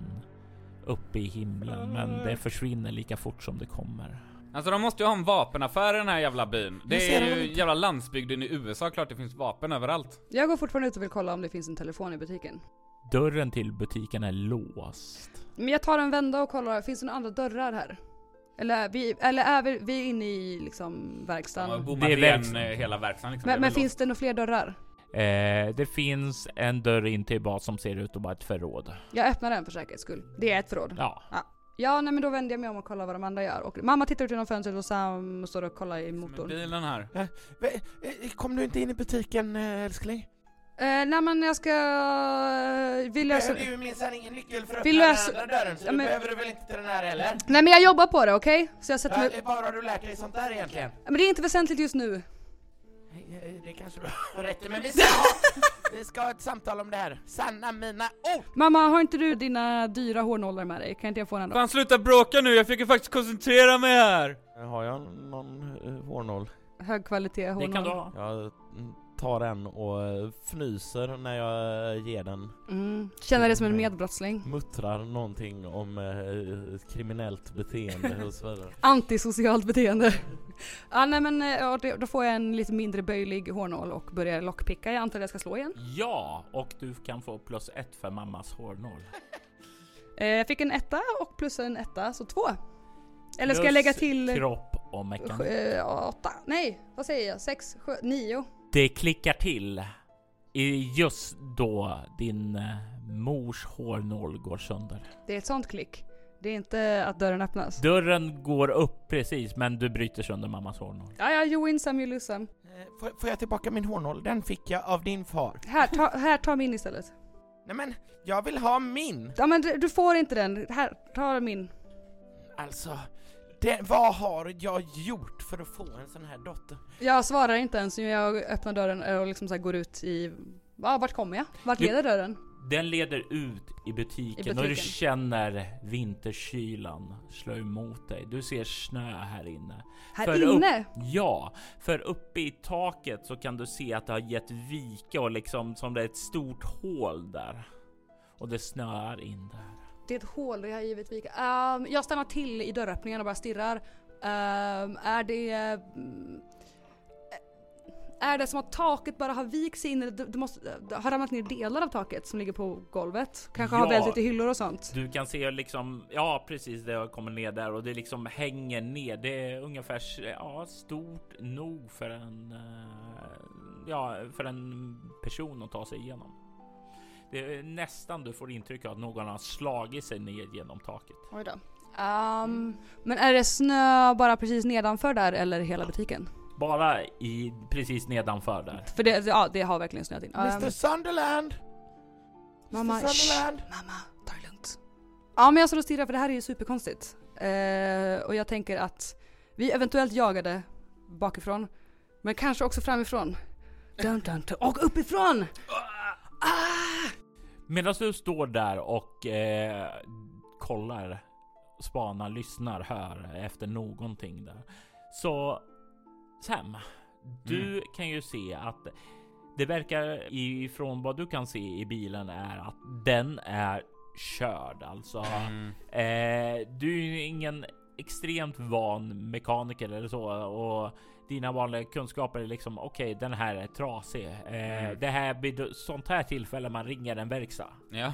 Speaker 1: uppe i himlen, men det försvinner lika fort som det kommer.
Speaker 2: Alltså de måste ju ha en vapenaffär i den här jävla byn.
Speaker 3: Jag
Speaker 2: Det
Speaker 3: ser
Speaker 2: är
Speaker 3: dem
Speaker 2: ju
Speaker 3: inte.
Speaker 2: jävla landsbygden i USA, klart det finns vapen överallt.
Speaker 4: Jag går fortfarande ut och vill kolla om det finns en telefon i butiken.
Speaker 1: Dörren till butiken är låst.
Speaker 4: Men jag tar en vända och kollar, finns det några andra dörrar här? Eller, är vi, eller är vi, vi är inne i liksom
Speaker 2: De har
Speaker 4: verkstaden?
Speaker 2: bommat
Speaker 1: Det är
Speaker 2: igen
Speaker 1: verkstad.
Speaker 2: eh, hela verkstaden liksom. Det är
Speaker 4: Men, men
Speaker 2: väl
Speaker 4: finns det några fler dörrar?
Speaker 1: Eh, det finns en dörr in till vad som ser ut att vara ett förråd.
Speaker 4: Jag öppnar den för säkerhets skull. Det är ett förråd.
Speaker 1: Ja,
Speaker 4: Ja, nej men då vänder jag mig om och kollar vad de andra gör. Och mamma tittar ut genom fönstret och Sam står och kollar i
Speaker 2: låst. Med
Speaker 4: motorn.
Speaker 2: bilen här.
Speaker 3: Ve- eh, Kom du inte in i butiken eh, älskling?
Speaker 4: Eh, nej men jag ska... eh, Vi löser...
Speaker 3: Behöver ju minsann ingen nyckel för att
Speaker 4: Vi
Speaker 3: öppna
Speaker 4: löser-
Speaker 3: den andra dörren så
Speaker 4: Ja,
Speaker 3: du
Speaker 4: men-
Speaker 3: behöver du väl inte till den här heller?
Speaker 4: Nej men jag jobbar på det, okej? Så jag sätter mig...
Speaker 3: Äh, Var har du lärt dig sånt där egentligen?
Speaker 4: Men det är inte väsentligt just nu.
Speaker 3: Nej, eh, Det kanske du har rätt i, men vi ska, ha- vi ska ha ett samtal om det här. Sanna mina ord!
Speaker 4: Mamma, har inte du dina dyra hårnålar med dig? Kan inte jag få den då?
Speaker 2: Fan sluta bråka nu, jag fick ju faktiskt koncentrera mig här!
Speaker 5: Eh, Har jag någon eh, hårnål?
Speaker 4: Hög kvalitet
Speaker 1: det
Speaker 4: hårnål.
Speaker 1: kan du ha.
Speaker 5: Jag mm, tar en och eh, fnyser när jag eh, ger den.
Speaker 4: Mm. Känner dig som en medbrottsling.
Speaker 5: Muttrar någonting om eh, kriminellt beteende och så vidare.
Speaker 4: Antisocialt beteende. ja, nej men eh, ja, det- då får jag en lite mindre böjlig hårnål och börjar lockpicka. Jag antar att jag ska slå igen.
Speaker 1: Ja, och du kan få plus ett för mammas hårnål.
Speaker 4: Eh, jag fick en etta och plus en etta, så två. Eller ska jag
Speaker 1: Plus
Speaker 4: lägga till...
Speaker 1: Kropp och mekanik.
Speaker 4: Sju, eh, åtta? Nej, vad säger jag? Sex, sju, nio.
Speaker 1: Det klickar till i just då din eh, mors hårnål går sönder.
Speaker 4: Det är ett sånt klick. Det är inte att dörren öppnas.
Speaker 1: Dörren går upp precis, men du bryter sönder mammas hårnål.
Speaker 4: Ja, ja, you win some, you lose some.
Speaker 3: Eh, Får, får jag tillbaka min hårnål? Den fick jag av din far.
Speaker 4: Här, ta, här, ta min istället.
Speaker 3: Nej men, jag vill ha min!
Speaker 4: Ja men du, du får inte den. Här, ta min.
Speaker 3: Alltså, det, vad har jag gjort för att få en sån här dotter?
Speaker 4: Jag svarar inte ens när jag öppnar dörren och liksom så här går ut i... Va, vart kommer jag? Vart
Speaker 1: Du-
Speaker 4: leder dörren?
Speaker 1: Den leder ut i butiken, och du
Speaker 4: butiken.
Speaker 1: känner vinterkylan slå emot dig. Du ser snö här inne.
Speaker 4: Här
Speaker 1: För
Speaker 4: inne?
Speaker 1: Ja, för uppe i taket så kan du se att det har gett vika och liksom som det är ett stort hål där. Och det snöar in där.
Speaker 4: Det är ett hål där jag har givit vika. Ehm, jag stannar till i dörröppningen och bara stirrar. Ehm, är det... mm, Är det som att taket bara har vikt sig in? eller Det, det måste, det har ramlat ner delar av taket som ligger på golvet. Kanske har
Speaker 1: Ja.
Speaker 4: vält lite hyllor och sånt.
Speaker 1: Du kan se liksom, ja precis det har kommit ner där och det liksom hänger ner. Det är ungefär ja, stort nog för en, eh, ja, för en person att ta sig igenom. Det är nästan du får intryck av att någon har slagit sig ner genom taket.
Speaker 4: Oj då. Ehm, men är det snö bara precis nedanför där eller hela butiken?
Speaker 1: Bara i precis nedanför där.
Speaker 4: För det, ja, det har verkligen snöat in. Ehm,
Speaker 3: Mr Sunderland!
Speaker 4: mamma,
Speaker 3: Mr
Speaker 4: shh,
Speaker 3: Sunderland!
Speaker 4: mamma, ta det lugnt. Ja men jag står och stirrar för det här är ju superkonstigt. Eh, och jag tänker att vi eventuellt jagade bakifrån, men kanske också framifrån. Dun, dun, dun. Och uppifrån! Ah!
Speaker 1: Medan du står där och eh, kollar, spanar, lyssnar, hör efter någonting där. Så Sam, du kan ju se att det verkar ifrån vad du kan se i bilen är att den är körd alltså.
Speaker 2: Mm,
Speaker 1: Eh, du är ju ingen extremt van mekaniker eller så och dina vanliga kunskaper är liksom okej, den här är trasig. Eh,
Speaker 2: Mm.
Speaker 1: Det här blir då- sånt här tillfälle man ringer en verkstad.
Speaker 2: Ja.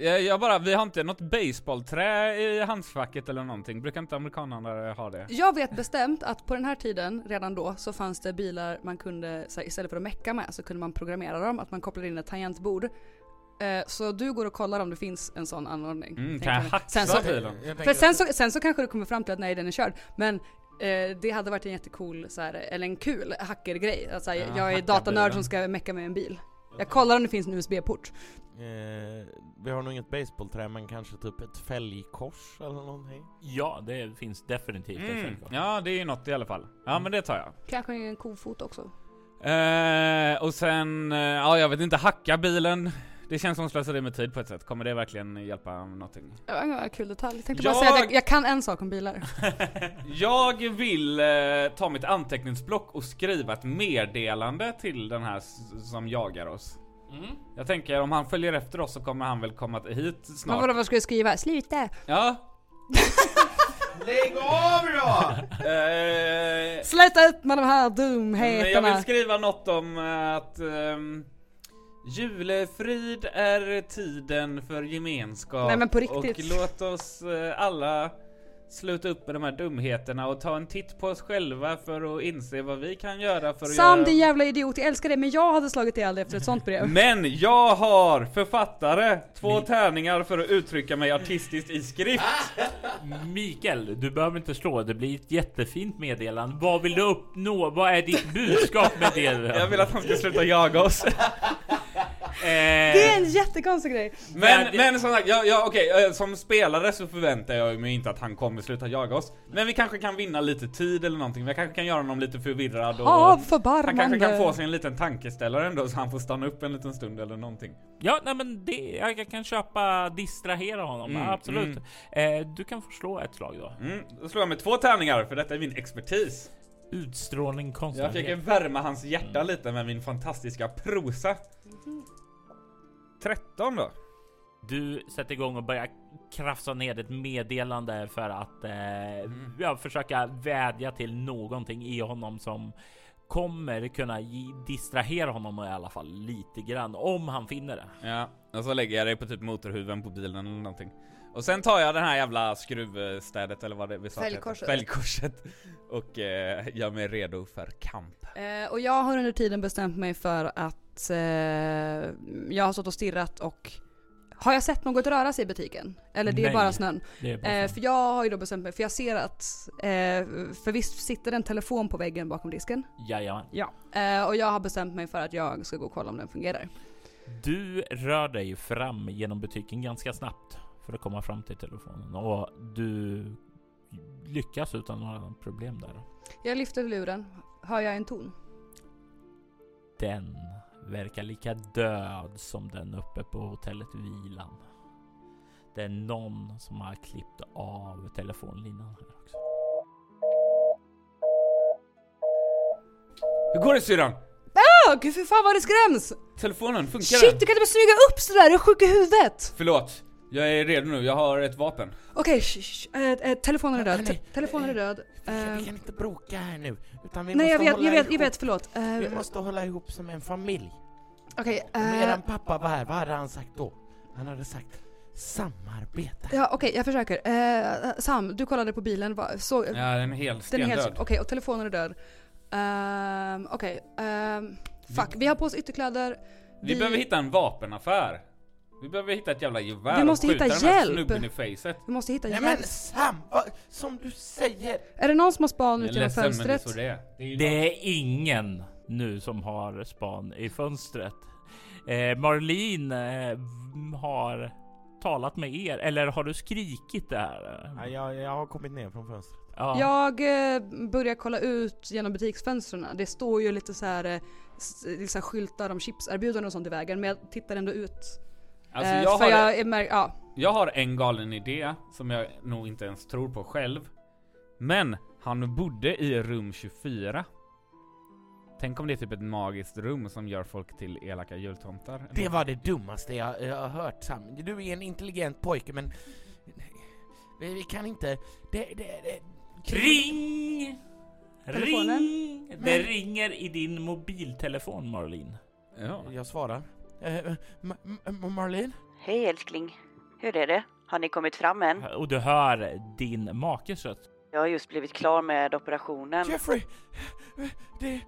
Speaker 2: Jag, jag bara, vi har inte något baseballträ i handskfacket eller någonting. Brukar inte amerikanare ha det?
Speaker 4: Jag vet bestämt att på den här tiden, redan då, så fanns det bilar man kunde, så här, istället för att mecka med, så kunde man programmera dem, att man kopplade in ett tangentbord. Eh, så du går och kollar om det finns en sån anordning.
Speaker 2: Mm,
Speaker 4: tänker
Speaker 2: kan jag
Speaker 4: jag.
Speaker 2: hacksa
Speaker 4: Sen så-
Speaker 2: bilen?
Speaker 4: För sen så, sen så kanske du kommer fram till att nej den är körd, men eh, det hade varit en jättecool, så här, eller en kul hackergrej. Att, så här,
Speaker 2: Ja,
Speaker 4: jag är
Speaker 2: hacka
Speaker 4: datanörd
Speaker 2: bilen.
Speaker 4: som ska mecka med en bil. Jag kollar om det finns en USB-port.
Speaker 5: Eh, vi har nog inget baseballträ men kanske typ ett fälgkors eller någonting.
Speaker 1: Ja, det finns definitivt en
Speaker 2: Mm.
Speaker 1: fällkort.
Speaker 2: Ja, det Mm. är ju något i alla fall. Ja, men det tar jag.
Speaker 4: Kanske en kofot också.
Speaker 2: Eh, och sen, eh, ja jag vet inte, hacka bilen. Det känns som slöseri med tid på ett sätt. Kommer det verkligen hjälpa någonting?
Speaker 4: Det var en kul detalj. Jag tänkte bara
Speaker 2: Jag-
Speaker 4: säga att jag, jag kan en sak om bilar.
Speaker 2: Jag vill eh, ta mitt anteckningsblock och skriva ett meddelande till den här s- som jagar oss. Jag tänker om han följer efter oss så kommer han väl komma hit
Speaker 4: Men
Speaker 2: snart.
Speaker 4: vadå, vad ska du skriva? Sluta!
Speaker 2: Ja.
Speaker 3: Lägg av då!
Speaker 2: Eh,
Speaker 4: Sluta ut med de här
Speaker 2: men Eh, jag vill
Speaker 4: dumheterna!
Speaker 2: skriva något om eh, att ehm, julefrid är tiden för gemenskap.
Speaker 4: Nej, men på riktigt.
Speaker 2: Och låt oss eh, alla sluta upp med de här dumheterna och ta en titt på oss själva för att inse vad vi kan göra för att
Speaker 4: Sam
Speaker 2: göra...
Speaker 4: din jävla idiot, jag älskar dig men jag hade slagit ihjäl dig efter ett sånt brev.
Speaker 2: Men jag har författare, två tärningar för att uttrycka mig artistiskt i skrift.
Speaker 1: Mm. Mikael, du behöver inte slå. Det blir ett jättefint meddelande. Vad vill du uppnå? Vad är ditt budskap med det?
Speaker 2: Jag vill att han ska sluta jaga oss.
Speaker 1: Eh,
Speaker 4: Det är en jättekonstig grej.
Speaker 2: Men, men som sagt, ja, ja, okej, eh, som spelare så förväntar jag mig inte att han kommer sluta jaga oss. Men vi kanske kan vinna lite tid eller någonting, vi kanske kan göra honom lite förvirrad och...
Speaker 4: Av
Speaker 2: han kanske kan få
Speaker 4: förbarmande.
Speaker 2: sig en liten tankeställare ändå så han får stanna upp en liten stund eller någonting.
Speaker 1: Ja, nej, men det, jag kan köpa distrahera honom.
Speaker 2: Mm,
Speaker 1: absolut. Eh, du kan få slå ett slag då.
Speaker 2: Mm, då slår jag med två tärningar för detta är min expertis.
Speaker 1: Utstrålning
Speaker 2: Jag försöker
Speaker 1: konstnärlighet.
Speaker 2: värma hans hjärta lite med min fantastiska prosa. 13 då.
Speaker 1: Du sätter igång och börjar krafsa ner ett meddelande för att eh, ja, försöka vädja till någonting i honom som kommer kunna gi- distrahera honom i alla fall lite grann om han finner det.
Speaker 2: Ja, och så lägger jag dig på typ motorhuven på bilen eller någonting. Och sen tar jag den här jävla skruvstädet eller vad det vi sa att det heter.
Speaker 4: Fällkorset.
Speaker 2: Fällkorset. Och eh, gör mig redo för kamp.
Speaker 4: Eh, och jag har under tiden bestämt mig för att eh, jag har stått och stirrat och har jag sett något röra sig i butiken? Eller det är
Speaker 1: Nej.
Speaker 4: bara snön?
Speaker 1: Det är bara
Speaker 4: Eh,
Speaker 1: så.
Speaker 4: för jag har ju då bestämt mig, för jag ser att, eh, för visst sitter en telefon på väggen bakom disken?
Speaker 1: Jajamän.
Speaker 4: Ja. Eh, och jag har bestämt mig för att jag ska gå och kolla om den fungerar.
Speaker 1: Du rör dig fram genom butiken ganska snabbt för att komma fram till telefonen och du lyckas utan några problem där.
Speaker 4: Jag lyfter luren, hör jag en ton?
Speaker 1: Den verkar lika död som den uppe på hotellet Vilan. Det är någon som har klippt av telefonlinan här också.
Speaker 2: Hur går det syrran?
Speaker 4: Åh gud för fan vad det skräms!
Speaker 2: Telefonen, funkar
Speaker 4: Shit
Speaker 2: den?
Speaker 4: du kan inte bara smyga upp sådär, du är sjuk i huvudet!
Speaker 2: Förlåt. Jag är redo nu, jag har ett vapen.
Speaker 4: Okej, shh, shh, eh, eh, telefonen är död,
Speaker 5: Hörni,
Speaker 4: te- telefonen är död.
Speaker 5: Vi
Speaker 4: Eh,
Speaker 5: kan inte bråka här nu. Utan vi
Speaker 4: Nej
Speaker 5: måste
Speaker 4: jag vet,
Speaker 5: hålla
Speaker 4: jag vet, jag
Speaker 5: ihop.
Speaker 4: vet, förlåt. Eh,
Speaker 5: Vi måste hålla ihop som en familj.
Speaker 4: Okej,
Speaker 5: Om
Speaker 4: eh,
Speaker 5: eran pappa var här, vad hade han sagt då? Han hade sagt samarbete.
Speaker 4: ja, okej jag försöker. Eh, Sam, du kollade på bilen, va? så,
Speaker 2: Ja, den är helt
Speaker 4: Eh, den är helt...
Speaker 2: stendöd.
Speaker 4: Okej, och telefonen är död. Ehm, okej, ehm, fuck. Vi har på oss ytterkläder.
Speaker 2: Vi behöver hitta en vapenaffär. Vi behöver hitta ett jävla gevär
Speaker 4: Vi måste
Speaker 2: och skjuta
Speaker 4: hitta
Speaker 2: den här
Speaker 4: hjälp.
Speaker 2: snubben i facet.
Speaker 4: Vi måste hitta
Speaker 5: Nej
Speaker 4: hjälp.
Speaker 5: men Sam, vad, som du säger!
Speaker 4: Är det någon som har span ut
Speaker 2: Jag är
Speaker 4: genom
Speaker 2: ledsen men det är
Speaker 4: fönstret?
Speaker 2: så det är. Det är ju någon-
Speaker 1: Det är ingen nu som har span i fönstret. Eh, Marlene eh, v- har talat med er, eller har du skrikit det här?
Speaker 5: Ja, jag, jag har kommit ner från fönstret.
Speaker 1: Ja.
Speaker 4: Jag eh, börjar kolla ut genom butiksfönstren. Det står ju lite så här eh, s- liksom skyltar om chipserbjudanden och sånt i vägen men jag tittar ändå ut.
Speaker 2: Alltså,
Speaker 4: Eh,
Speaker 2: jag
Speaker 4: för
Speaker 2: har
Speaker 4: jag är mär- ja.
Speaker 2: Jag har en galen idé som jag nog inte ens tror på själv. Men han bodde i rum 24. Tänk om det är typ ett magiskt rum som gör folk till elaka jultomtar.
Speaker 5: Det var det dummaste jag, jag har hört Sam. Du är en intelligent pojke men... Vi, vi kan inte... Det, det, det.
Speaker 1: Ring!
Speaker 4: Telefonen?
Speaker 1: Ring! Det ringer i din mobiltelefon Marlin.
Speaker 2: Ja.
Speaker 5: Jag svarar. Eh, Ma- Ma- Marlene?
Speaker 6: Hej älskling. Hur är det? Har ni kommit fram än?
Speaker 1: Och du hör din makes röst.
Speaker 6: Jag har just blivit klar med operationen.
Speaker 3: Jeffrey! Det är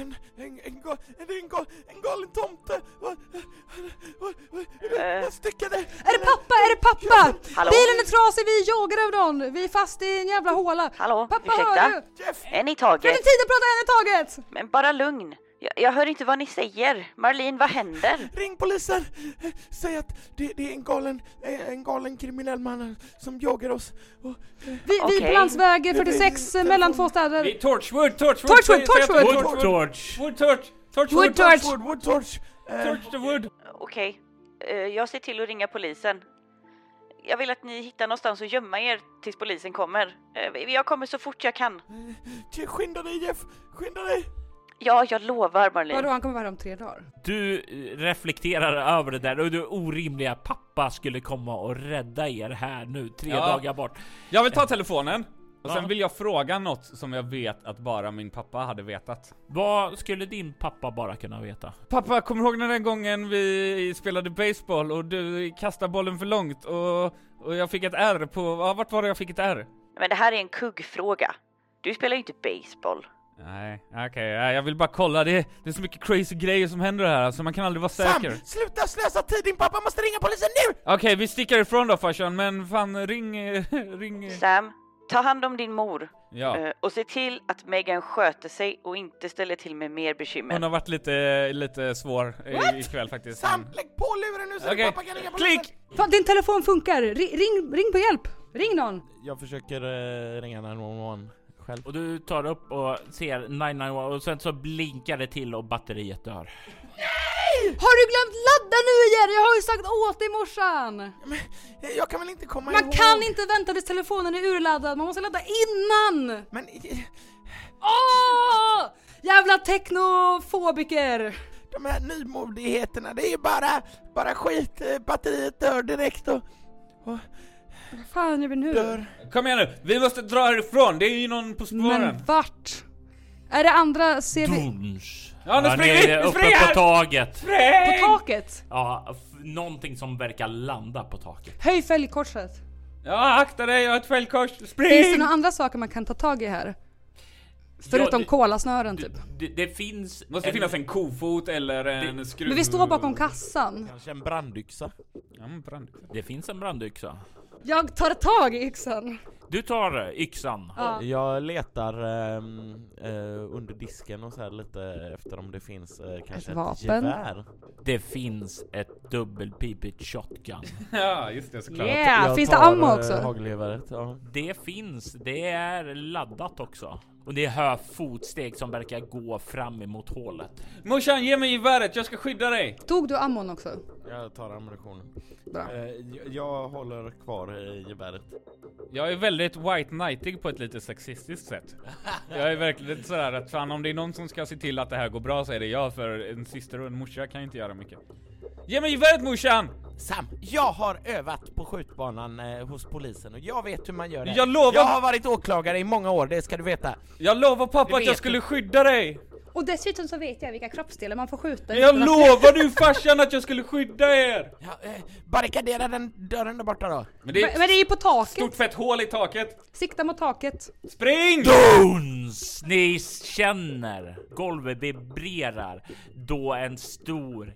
Speaker 3: en, en, en, gal- det är en, gal, en galen tomte! Och- och- och-
Speaker 6: Eh.
Speaker 3: Jag styckade!
Speaker 4: Är det pappa? Är det pappa?
Speaker 6: Hallå?
Speaker 4: Bilen är trasig, vi jagar över någon. Vi är fast i en jävla håla.
Speaker 6: Hallå?
Speaker 4: Pappa, hör du?
Speaker 6: Ursäkta?
Speaker 3: Jeff!
Speaker 6: En i
Speaker 4: Kan
Speaker 6: taget.
Speaker 4: inte tiden prata en i taget?
Speaker 6: Men bara lugn. Jag, jag hör inte vad ni säger. Marlin, vad händer?
Speaker 3: Ring polisen! Säg att det, det är en galen, eh, en galen kriminell man som jagar oss. Och,
Speaker 4: Vi, vi är på
Speaker 6: Okej.
Speaker 4: landsväg 46 eh, mellan två
Speaker 2: Vi,
Speaker 4: städer.
Speaker 2: torchwood, torchwood!
Speaker 4: Torchwood,
Speaker 2: säg att-
Speaker 4: torchwood.
Speaker 2: Wood
Speaker 1: Torch!
Speaker 2: torch! Wood torch! Torchwood!
Speaker 4: Wood torch.
Speaker 3: Wood, wood torch! Eh,
Speaker 2: Torch the wood!
Speaker 6: Okej, Eh, jag ser till att ringa polisen. Jag vill att ni hittar någonstans att gömma er tills polisen kommer. Eh, Jag kommer så fort jag kan.
Speaker 3: Jeff, Skynda dig Jeff! Skynda dig!
Speaker 6: Ja, jag lovar Marlin.
Speaker 4: Vadå, han kommer vara här om tre dagar?
Speaker 1: Du eh, reflekterar över det där och du orimliga pappa skulle komma och rädda er här nu tre
Speaker 2: Ja.
Speaker 1: dagar bort.
Speaker 2: Jag vill ta telefonen! Och
Speaker 1: Ja.
Speaker 2: sen vill jag fråga något som jag vet att bara min pappa hade vetat.
Speaker 1: Vad skulle din pappa bara kunna veta?
Speaker 2: Pappa, kommer du ihåg när den gången vi spelade baseball och du kastade bollen för långt och, och jag fick ett R på... Ja, vart var det jag fick ett R?
Speaker 6: Men det här är en kuggfråga. Du spelar ju inte baseball.
Speaker 2: Nej, okej, nej, jag vill bara kolla. Det, det är så mycket crazy grejer som händer här, så man kan aldrig vara säker.
Speaker 3: Sam! Sluta slösa tid! Din pappa måste ringa polisen nu!
Speaker 2: Okej, vi sticker ifrån då farsan, men fan ring... eh, ring...
Speaker 4: Mm.
Speaker 2: eh.
Speaker 6: Sam, ta hand om din mor
Speaker 2: Ja,
Speaker 6: eh, och se till att Megan sköter sig och inte ställer till med mer bekymmer.
Speaker 2: hon har varit lite, lite svår i-
Speaker 3: What?
Speaker 2: ikväll faktiskt.
Speaker 4: Mm.
Speaker 3: Sam, lägg på luren nu så
Speaker 2: Okej.
Speaker 3: din pappa kan ringa polisen!
Speaker 2: Klick!
Speaker 4: Fan, din telefon funkar. Ri- Ring, ring på hjälp. Ring någon.
Speaker 3: Jag försöker eh, ringa 911 själv.
Speaker 1: Och du tar upp och ser 991 och sen så blinkar det till och batteriet dör.
Speaker 4: Har du glömt ladda nu igen? Jag har ju sagt åt dig i morsan.
Speaker 3: Men, eh, jag kan väl inte komma
Speaker 4: Man
Speaker 3: ihåg?
Speaker 4: kan inte vänta tills telefonen är urladdad, man måste ladda innan!
Speaker 3: Men eh,
Speaker 4: Åh! Jävla technofobiker!
Speaker 3: de här nymodigheterna, det är ju bara, bara skit. Eh, Batteriet dör direkt och
Speaker 4: Vad fan gör vi nu?
Speaker 3: dör.
Speaker 2: Kom igen nu, vi måste dra härifrån, det är ju någon på spåren.
Speaker 4: Men vart? Är det andra ser vi
Speaker 1: Duns!
Speaker 2: Ja, nu
Speaker 1: Han
Speaker 2: springer vi,
Speaker 1: är
Speaker 2: nu
Speaker 1: uppe
Speaker 2: springer!
Speaker 1: på taget!
Speaker 4: på taket?
Speaker 1: Ja, f- någonting som verkar landa på taket.
Speaker 4: Höj fälgkorset.
Speaker 2: Ja, akta dig, jag har ett fällkors.
Speaker 4: Finns det
Speaker 2: Spring!
Speaker 4: några andra saker man kan ta tag i här? Förutom
Speaker 1: det-
Speaker 4: kolasnören typ.
Speaker 1: Det, det finns...
Speaker 2: Måste finnas en kofot eller en skruv...
Speaker 4: Men vi står bakom kassan.
Speaker 3: Kanske en brandyxa.
Speaker 2: Ja, men brand.
Speaker 1: Det finns en brandyxa.
Speaker 4: Jag tar tag i yxan.
Speaker 1: Du tar yxan.
Speaker 4: Ja.
Speaker 3: Jag letar ehm, eh, under disken och så här lite efter om det finns eh, kanske ett,
Speaker 4: vapen.
Speaker 3: gevär.
Speaker 1: Det finns ett dubbelpipigt shotgun.
Speaker 2: Ja, just det såklart.
Speaker 4: Yeah,
Speaker 3: Jag
Speaker 4: finns det
Speaker 3: tar,
Speaker 4: ammo
Speaker 3: eh,
Speaker 4: också?
Speaker 3: hagelgeväret, ja.
Speaker 1: Det finns, det är laddat också. Och det hör fotsteg som verkar gå fram emot hålet.
Speaker 2: Morsan, ge mig geväret, jag ska skydda dig!
Speaker 4: Tog du ammon också?
Speaker 3: Jag tar ammunitionen.
Speaker 4: Bra.
Speaker 3: Eh, jag, jag håller kvar eh, geväret.
Speaker 2: Jag är väldigt white knightig på ett lite sexistiskt sätt. Jag är verkligen sådär att fan om det är någon som ska se till att det här går bra så är det jag för en syster och en morsa kan inte göra mycket. Ge mig geväret morsan!
Speaker 3: Sam, jag har övat på skjutbanan eh, hos polisen och jag vet hur man gör det.
Speaker 2: Jag lovar-
Speaker 3: Jag har varit åklagare i många år, det ska du veta.
Speaker 2: Jag lovar pappa att
Speaker 3: vet
Speaker 2: jag skulle skydda dig!
Speaker 4: Och dessutom så vet jag vilka kroppsdelar man får skjuta
Speaker 2: Men jag lovar du farsan att jag skulle skydda er!
Speaker 3: Ja, eh, barrikadera den dörren där borta då.
Speaker 2: Men det är
Speaker 4: Men
Speaker 2: ett
Speaker 4: men det är ju på taket!
Speaker 2: stort fett hål i taket.
Speaker 4: Sikta mot taket!
Speaker 2: Spring!
Speaker 1: Duns! Ni känner golvet vibrerar då en stor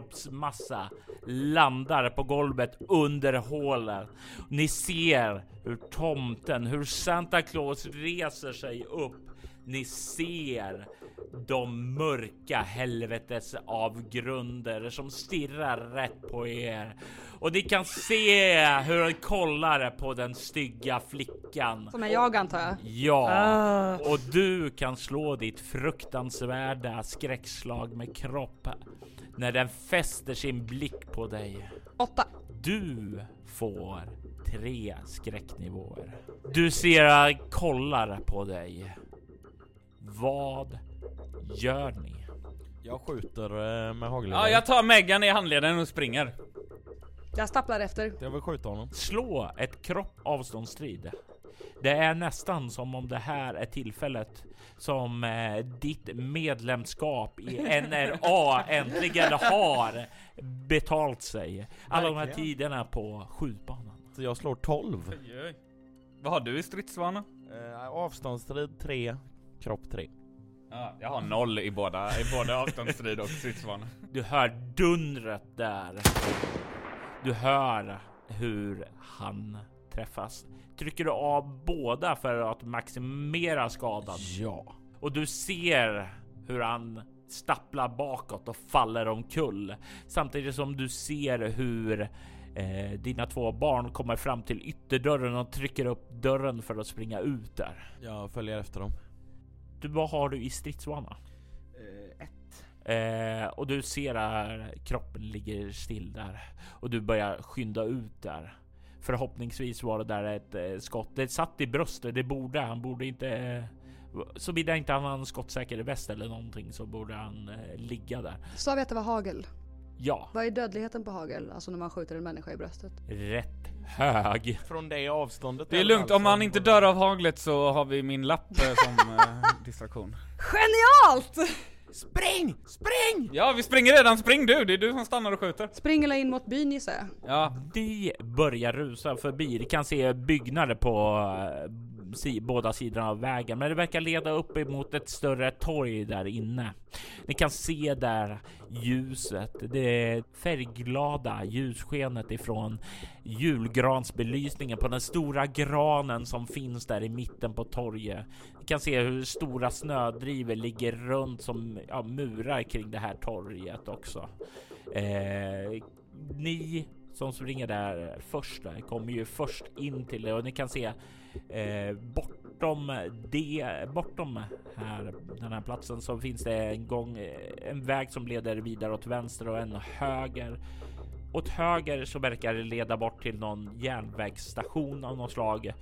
Speaker 1: kroppsmassa landar på golvet under hålen. Ni ser hur tomten, hur Santa Claus reser sig upp. Ni ser de mörka helvetes avgrunder som stirrar rätt på er. Och ni kan se hur de kollar på den stygga flickan.
Speaker 4: Som är jag antar jag.
Speaker 1: Ja, och du kan slå ditt fruktansvärda skräckslag med kropp när den fäster sin blick på dig.
Speaker 4: Åtta.
Speaker 1: Du får tre skräcknivåer. Du ser jag kollar på dig. Vad gör ni?
Speaker 3: Jag skjuter eh, med hagelgeväret.
Speaker 2: Ja, jag tar Megan i handleden och springer.
Speaker 4: Jag stapplar efter.
Speaker 3: jag vill skjuta honom.
Speaker 1: Slå ett kropp avståndsstrid. Det är nästan som om det här är tillfället som eh, ditt medlemskap i NRA äntligen har betalt sig. Alla de här
Speaker 7: Verkligen.
Speaker 1: tiderna på skjutbanan.
Speaker 7: Så jag slår 12.
Speaker 2: Oj, oj. Vad har du i stridsvana?
Speaker 7: Eh, avståndsstrid 3, kropp 3.
Speaker 2: Ja, jag har noll i båda, i både avståndsstrid och stridsvana.
Speaker 1: Du hör dundret där. Du hör hur han träffas. Trycker du av båda för att maximera skadan?
Speaker 7: Ja.
Speaker 1: och du ser hur han stapplar bakåt och faller omkull. Samtidigt som du ser hur eh, dina två barn kommer fram till ytterdörren och trycker upp dörren för att springa ut där.
Speaker 7: Jag följer efter dem.
Speaker 1: Du, vad har du i stridsvana? Eh, och du ser där kroppen ligger still där och du börjar skynda ut där. Förhoppningsvis var det där ett eh, skott. Det satt i bröstet, det borde han borde inte. Eh, Såvida inte han har en skottsäker väst eller någonting så borde han eh, ligga där.
Speaker 4: Sa vi att det var hagel?
Speaker 1: Ja,
Speaker 4: Vad är dödligheten på hagel? Alltså när man skjuter en människa i bröstet.
Speaker 1: rätt hög.
Speaker 7: Från det avståndet.
Speaker 2: Det
Speaker 7: i
Speaker 2: är
Speaker 7: alla
Speaker 2: lugnt,
Speaker 5: alltså
Speaker 7: fall,
Speaker 2: om
Speaker 7: så
Speaker 2: han inte
Speaker 7: borde-
Speaker 2: dör av haglet så har vi min lapp eh, som eh, distraktion.
Speaker 4: Genialt!
Speaker 5: Spring! Spring!
Speaker 2: Ja, vi springer redan, spring du! Det är du som stannar och skjuter.
Speaker 4: Spring eller in mot byn gissar jag.
Speaker 2: Ja,
Speaker 1: Ni börjar rusa förbi. Ni kan se byggnader på eh, si, båda sidorna av vägen, men det verkar leda upp emot ett större torg där inne. Ni kan se där ljuset, det färgglada ljusskenet ifrån julgransbelysningen på den stora granen som finns där i mitten på torget. Ni kan se hur stora snödrivor ligger runt som ja, murar kring det här torget också. Eh, ni som springer där först där kommer ju först in till det och ni kan se eh, bortom det, bortom här, den här platsen så finns det en gång eh, en väg som leder vidare åt vänster och en höger. Åt höger så verkar det leda bort till någon järnvägsstation av något slag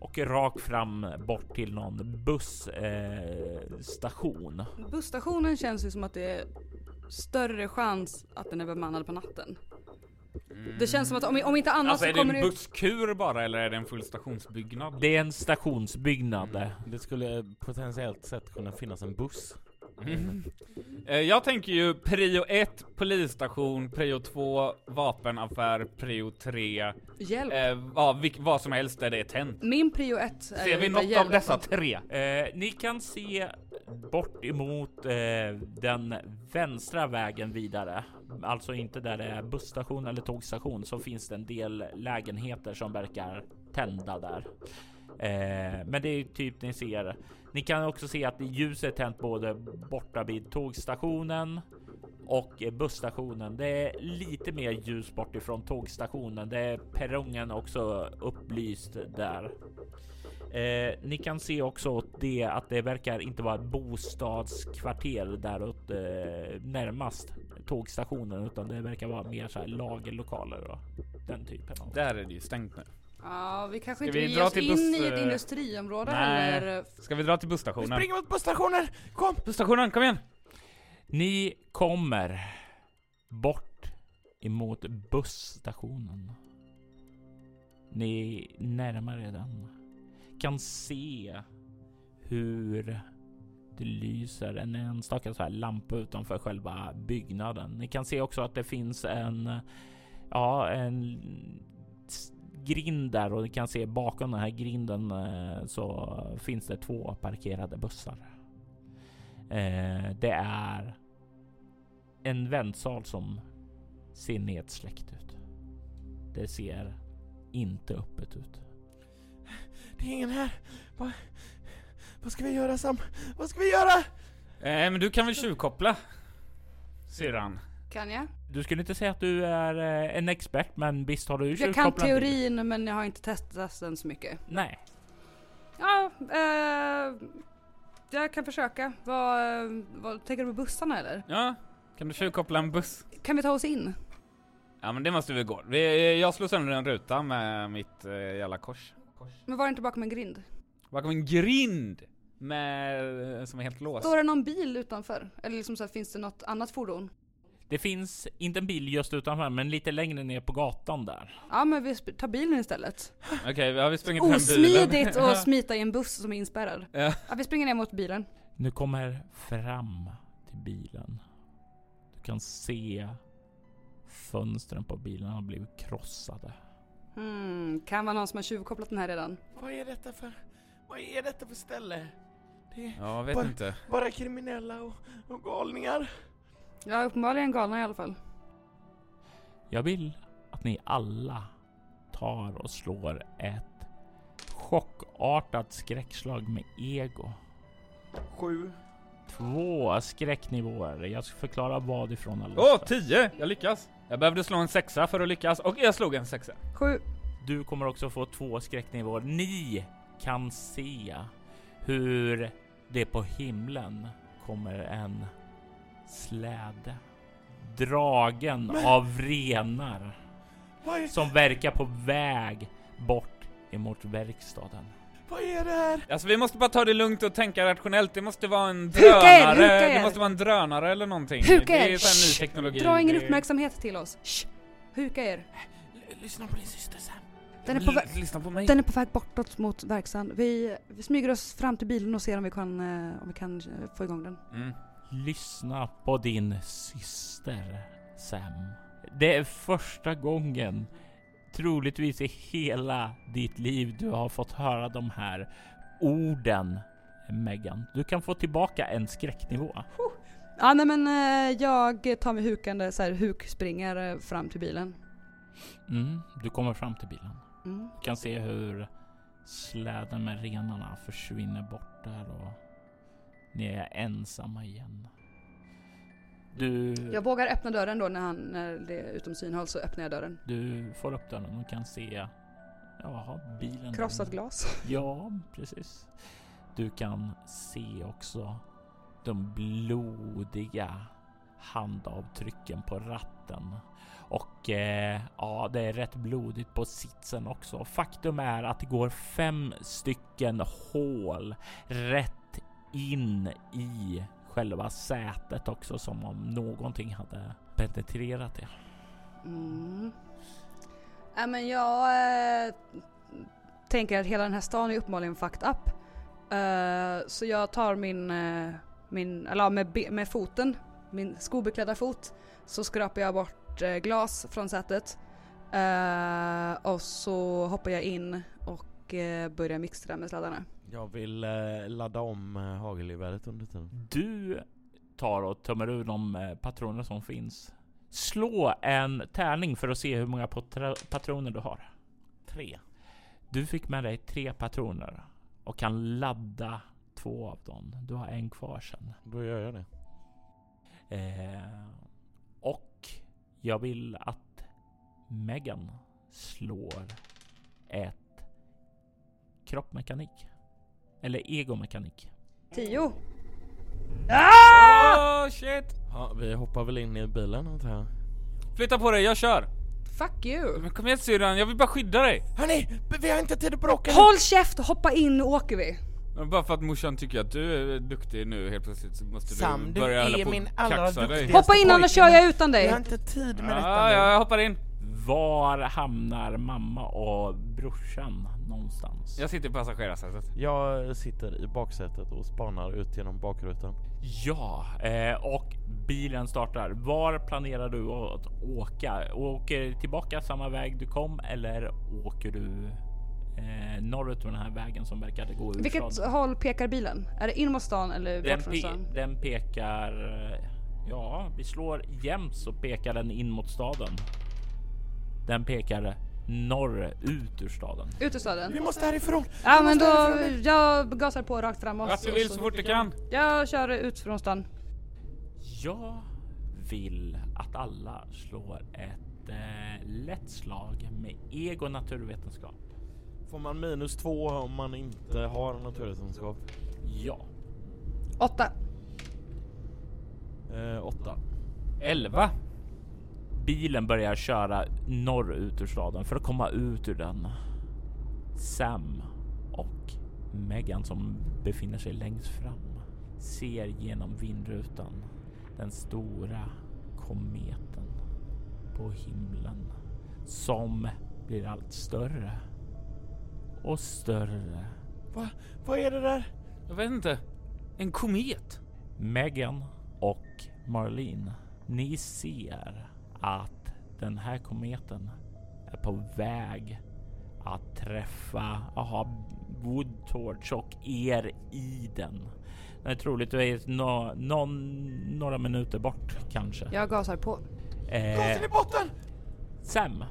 Speaker 1: och rakt fram bort till någon busstation. Eh, station.
Speaker 4: Busstationen känns ju som att det är större chans att den är bemannad på natten. Det känns som att om, om inte annat
Speaker 2: alltså
Speaker 4: så
Speaker 2: är det
Speaker 4: kommer
Speaker 2: en
Speaker 4: det
Speaker 2: busskur bara eller är det en full stationsbyggnad?
Speaker 1: det är en stationsbyggnad.
Speaker 7: Det skulle potentiellt sett kunna finnas en buss.
Speaker 2: Eh, Jag tänker ju prio 1 polisstation, prio 2 vapenaffär, prio 3 eh,
Speaker 4: hjälp.
Speaker 2: vad, vilk, vad som helst där det är tänt.
Speaker 4: Min prio ett är
Speaker 2: Ser vi
Speaker 4: ju
Speaker 2: något av
Speaker 4: hjälp.
Speaker 2: dessa tre?
Speaker 1: Eh, ni kan se bort emot eh, den vänstra vägen vidare, alltså inte där det är busstation eller tågstation, så finns det en del lägenheter som verkar tända där. Eh, men det är typ ni ser. Ni kan också se att ljuset är tänt både borta vid tågstationen och eh, busstationen. Det är lite mer ljus bort ifrån tågstationen. Det är perrongen också upplyst där. Eh, ni kan se också åt det att det verkar inte vara ett bostadskvarter däråt eh, närmast tågstationen, utan det verkar vara mer så här lagerlokaler och den typen av.
Speaker 2: Där är det ju stängt nu.
Speaker 4: Ja, vi kanske inte
Speaker 2: vi
Speaker 4: vill
Speaker 2: dra
Speaker 4: ge oss
Speaker 2: till
Speaker 4: in
Speaker 2: buss,
Speaker 4: i ett
Speaker 2: eh,
Speaker 4: industriområde
Speaker 2: nej.
Speaker 4: heller. eh,
Speaker 2: Ska vi dra till
Speaker 5: Vi
Speaker 2: busstationen?
Speaker 5: springer mot busstationen! Kom!
Speaker 2: Busstationen, kom igen!
Speaker 1: Ni kommer bort emot busstationen. Ni närmar er den. Kan se hur det lyser en enstaka så här lampa utanför själva byggnaden. Ni kan se också att det finns en, ja, en s- grind där och ni kan se bakom den här grinden eh, så finns det två parkerade bussar. Eh, Det är en väntsal som ser nedsläckt ut. Det ser inte öppet ut.
Speaker 5: Det är ingen här. Va, vad ska vi göra Sam? Vad ska vi göra?
Speaker 2: Eh, men du kan väl tjuvkoppla? Syrran.
Speaker 4: Kan jag?
Speaker 1: Du skulle inte säga att du är eh, en expert, men visst har du ju
Speaker 4: Jag kan
Speaker 1: tjuvkopplat-
Speaker 4: teorin men jag har inte testat den så mycket.
Speaker 1: Nej,
Speaker 4: Ja, eh, jag kan försöka. Vad, eh, vad, tänker du på bussarna eller?
Speaker 2: Ja, kan du tjuvkoppla en buss?
Speaker 4: Kan vi ta oss in?
Speaker 2: Ja men det måste vi gå. Vi, jag slår sönder en ruta med mitt eh, jävla kors.
Speaker 4: Men var det inte bakom en grind?
Speaker 2: Bakom en grind! Med, eh, som är helt låst.
Speaker 4: Står det någon bil utanför? Eller liksom så här, finns det något annat fordon?
Speaker 1: Det finns inte en bil just utanför, men lite längre ner på gatan där.
Speaker 4: Ja men vi sp- tar bilen istället.
Speaker 2: Okej, vi har vi sprungit fram bilen?
Speaker 4: Osmidigt att smita i en buss som är inspärrad.
Speaker 2: Ja.
Speaker 4: Ja, vi springer ner mot bilen.
Speaker 1: Nu kommer fram till bilen. Du kan se fönstren på bilen har blivit krossade.
Speaker 4: Hmm, kan vara någon som har tjuvkopplat den här redan.
Speaker 5: Vad är detta för... Vad är detta för ställe? Det är
Speaker 2: Ja, jag vet
Speaker 5: Bara-
Speaker 2: inte.
Speaker 5: bara kriminella och, och galningar.
Speaker 4: Ja uppenbarligen galna i alla fall.
Speaker 1: Jag vill att ni alla tar och slår ett chockartat skräckslag med ego.
Speaker 5: Sju.
Speaker 1: Två skräcknivåer. Jag ska förklara vad ifrån alla.
Speaker 2: Åh, 10! Jag lyckas! Jag behövde slå en sexa för att lyckas, och jag slog en sexa.
Speaker 4: Sju.
Speaker 1: Du kommer också få två skräcknivåer. Ni kan se hur det på himlen kommer en släde dragen av renar
Speaker 5: Vad är,
Speaker 1: som verkar på väg bort emot verkstaden.
Speaker 5: vad är det här?
Speaker 2: Alltså vi måste bara ta det lugnt och tänka rationellt, det måste vara en
Speaker 4: Huka er,
Speaker 2: drönare,
Speaker 4: huka er.
Speaker 2: det måste vara en drönare eller någonting.
Speaker 4: Huka
Speaker 2: det är
Speaker 4: er.
Speaker 2: ju sån här
Speaker 4: Shh.
Speaker 2: ny teknologi.
Speaker 4: Dra ingen
Speaker 2: Det är-
Speaker 4: uppmärksamhet till oss. Shh. Huka er.
Speaker 5: L- lyssna på din syster Sam.
Speaker 4: Den är på, vä-
Speaker 2: L- Lyssna på mig.
Speaker 4: den är på väg bortåt mot verkstaden. Vi, vi smyger oss fram till bilen och ser om vi kan, eh, om vi kan eh, få igång den.
Speaker 2: Mm.
Speaker 1: Lyssna på din syster Sam. Det är första gången, troligtvis i hela ditt liv, du har fått höra de här orden. Megan, du kan få tillbaka en skräcknivå.
Speaker 4: Ja nej men eh, jag tar mig hukande så här hukspringer eh, fram till bilen.
Speaker 1: Mm, du kommer fram till bilen.
Speaker 4: Mm.
Speaker 1: Du kan se hur släden med renarna försvinner bort där och ni är ensamma igen. Du...
Speaker 4: Jag vågar öppna dörren då när, han, när det är utom synhåll så öppnar jag dörren.
Speaker 1: Du får upp den och kan se Jaha, bilen.
Speaker 4: Krossat glas.
Speaker 1: Ja, precis. Du kan se också de blodiga handavtrycken på ratten. Och eh, ja, det är rätt blodigt på sitsen också. Faktum är att det går fem stycken hål rätt in i själva sätet också som om någonting hade penetrerat det.
Speaker 4: Mm. Ja, men jag eh, tänker att hela den här stan är uppenbarligen fucked up. Eh, så jag tar min, eh, min eller ja, med, be- med foten, min skobeklädda fot, så skrapar jag bort eh, glas från sätet. Eh, och så hoppar jag in och eh, börjar mixtra med sladdarna.
Speaker 7: Jag vill eh, ladda om eh, hagelgeväret under tiden.
Speaker 1: Du tar och tömmer ur de eh, patroner som finns. Slå en tärning för att se hur många potra- patroner du har.
Speaker 7: Tre.
Speaker 1: Du fick med dig tre patroner och kan ladda två av dem. Du har en kvar sen.
Speaker 7: Då gör jag det.
Speaker 1: Eh, och jag vill att Megan slår ett kroppmekanik. Eller egomekanik.
Speaker 4: Tio!
Speaker 2: Åh shit!
Speaker 7: Ja, vi hoppar väl in i bilen antar jag.
Speaker 2: Flytta på dig, jag kör!
Speaker 4: Fuck you!
Speaker 2: Men kom igen syrran, jag vill bara skydda dig!
Speaker 5: Hörni, b- vi har inte tid att bråka nu.
Speaker 4: Håll käft och hoppa in och åker vi!
Speaker 2: Men Bara för att morsan tycker att du är duktig nu helt plötsligt så måste
Speaker 5: Sam,
Speaker 2: du
Speaker 5: du
Speaker 2: börja hålla
Speaker 5: är
Speaker 2: på
Speaker 5: min
Speaker 2: och
Speaker 5: allra
Speaker 2: kaxa dig.
Speaker 5: duktigaste
Speaker 4: Hoppa in annars kör jag utan
Speaker 5: Vi har
Speaker 4: dig!
Speaker 5: inte tid
Speaker 7: Ah,
Speaker 5: med detta
Speaker 2: Ja,
Speaker 5: nu.
Speaker 2: ja, jag hoppar in.
Speaker 1: Var hamnar mamma och brorsan någonstans?
Speaker 2: Jag sitter i passagerarsätet.
Speaker 3: Alltså,
Speaker 7: Jag sitter i baksätet och spanar ut genom bakrutan.
Speaker 1: Ja, eh, och bilen startar. Var planerar du att åka? Åker tillbaka samma väg du kom eller åker du eh, norrut på den här vägen som verkar gå ur
Speaker 4: Vilket
Speaker 1: staden?
Speaker 4: håll pekar bilen? Är det in mot stan eller
Speaker 1: den,
Speaker 4: bort från stan?
Speaker 1: pe- den pekar... eh, Ja, vi slår jämnt så pekar den in mot staden. Den pekar norrut ur staden.
Speaker 4: Ut ur staden?
Speaker 5: Vi måste härifrån.
Speaker 4: Ja men
Speaker 5: måste
Speaker 4: då,
Speaker 5: härifrån.
Speaker 4: jag gasar på rakt framåt.
Speaker 2: Vart du Alltså, vill så fort du kan.
Speaker 4: Jag kör ut från stan.
Speaker 1: Jag vill att alla slår ett eh, lätt slag med ego naturvetenskap.
Speaker 7: Får man minus två om man inte har naturvetenskap?
Speaker 1: Ja.
Speaker 4: Åtta.
Speaker 7: Eh, åtta.
Speaker 2: 11.
Speaker 1: Bilen börjar köra norrut ur staden för att komma ut ur den. Sam och Megan som befinner sig längst fram ser genom vindrutan den stora kometen på himlen som blir allt större och större.
Speaker 7: Vad är det där?
Speaker 2: Jag vet inte. En komet?
Speaker 1: Megan och Marlene, ni ser att den här kometen är på väg att träffa aha, Woodtorch och er i den. Den är troligtvis nå, någon, några minuter bort kanske.
Speaker 4: Jag gasar på.
Speaker 1: Eh,
Speaker 5: i botten!
Speaker 1: Sam,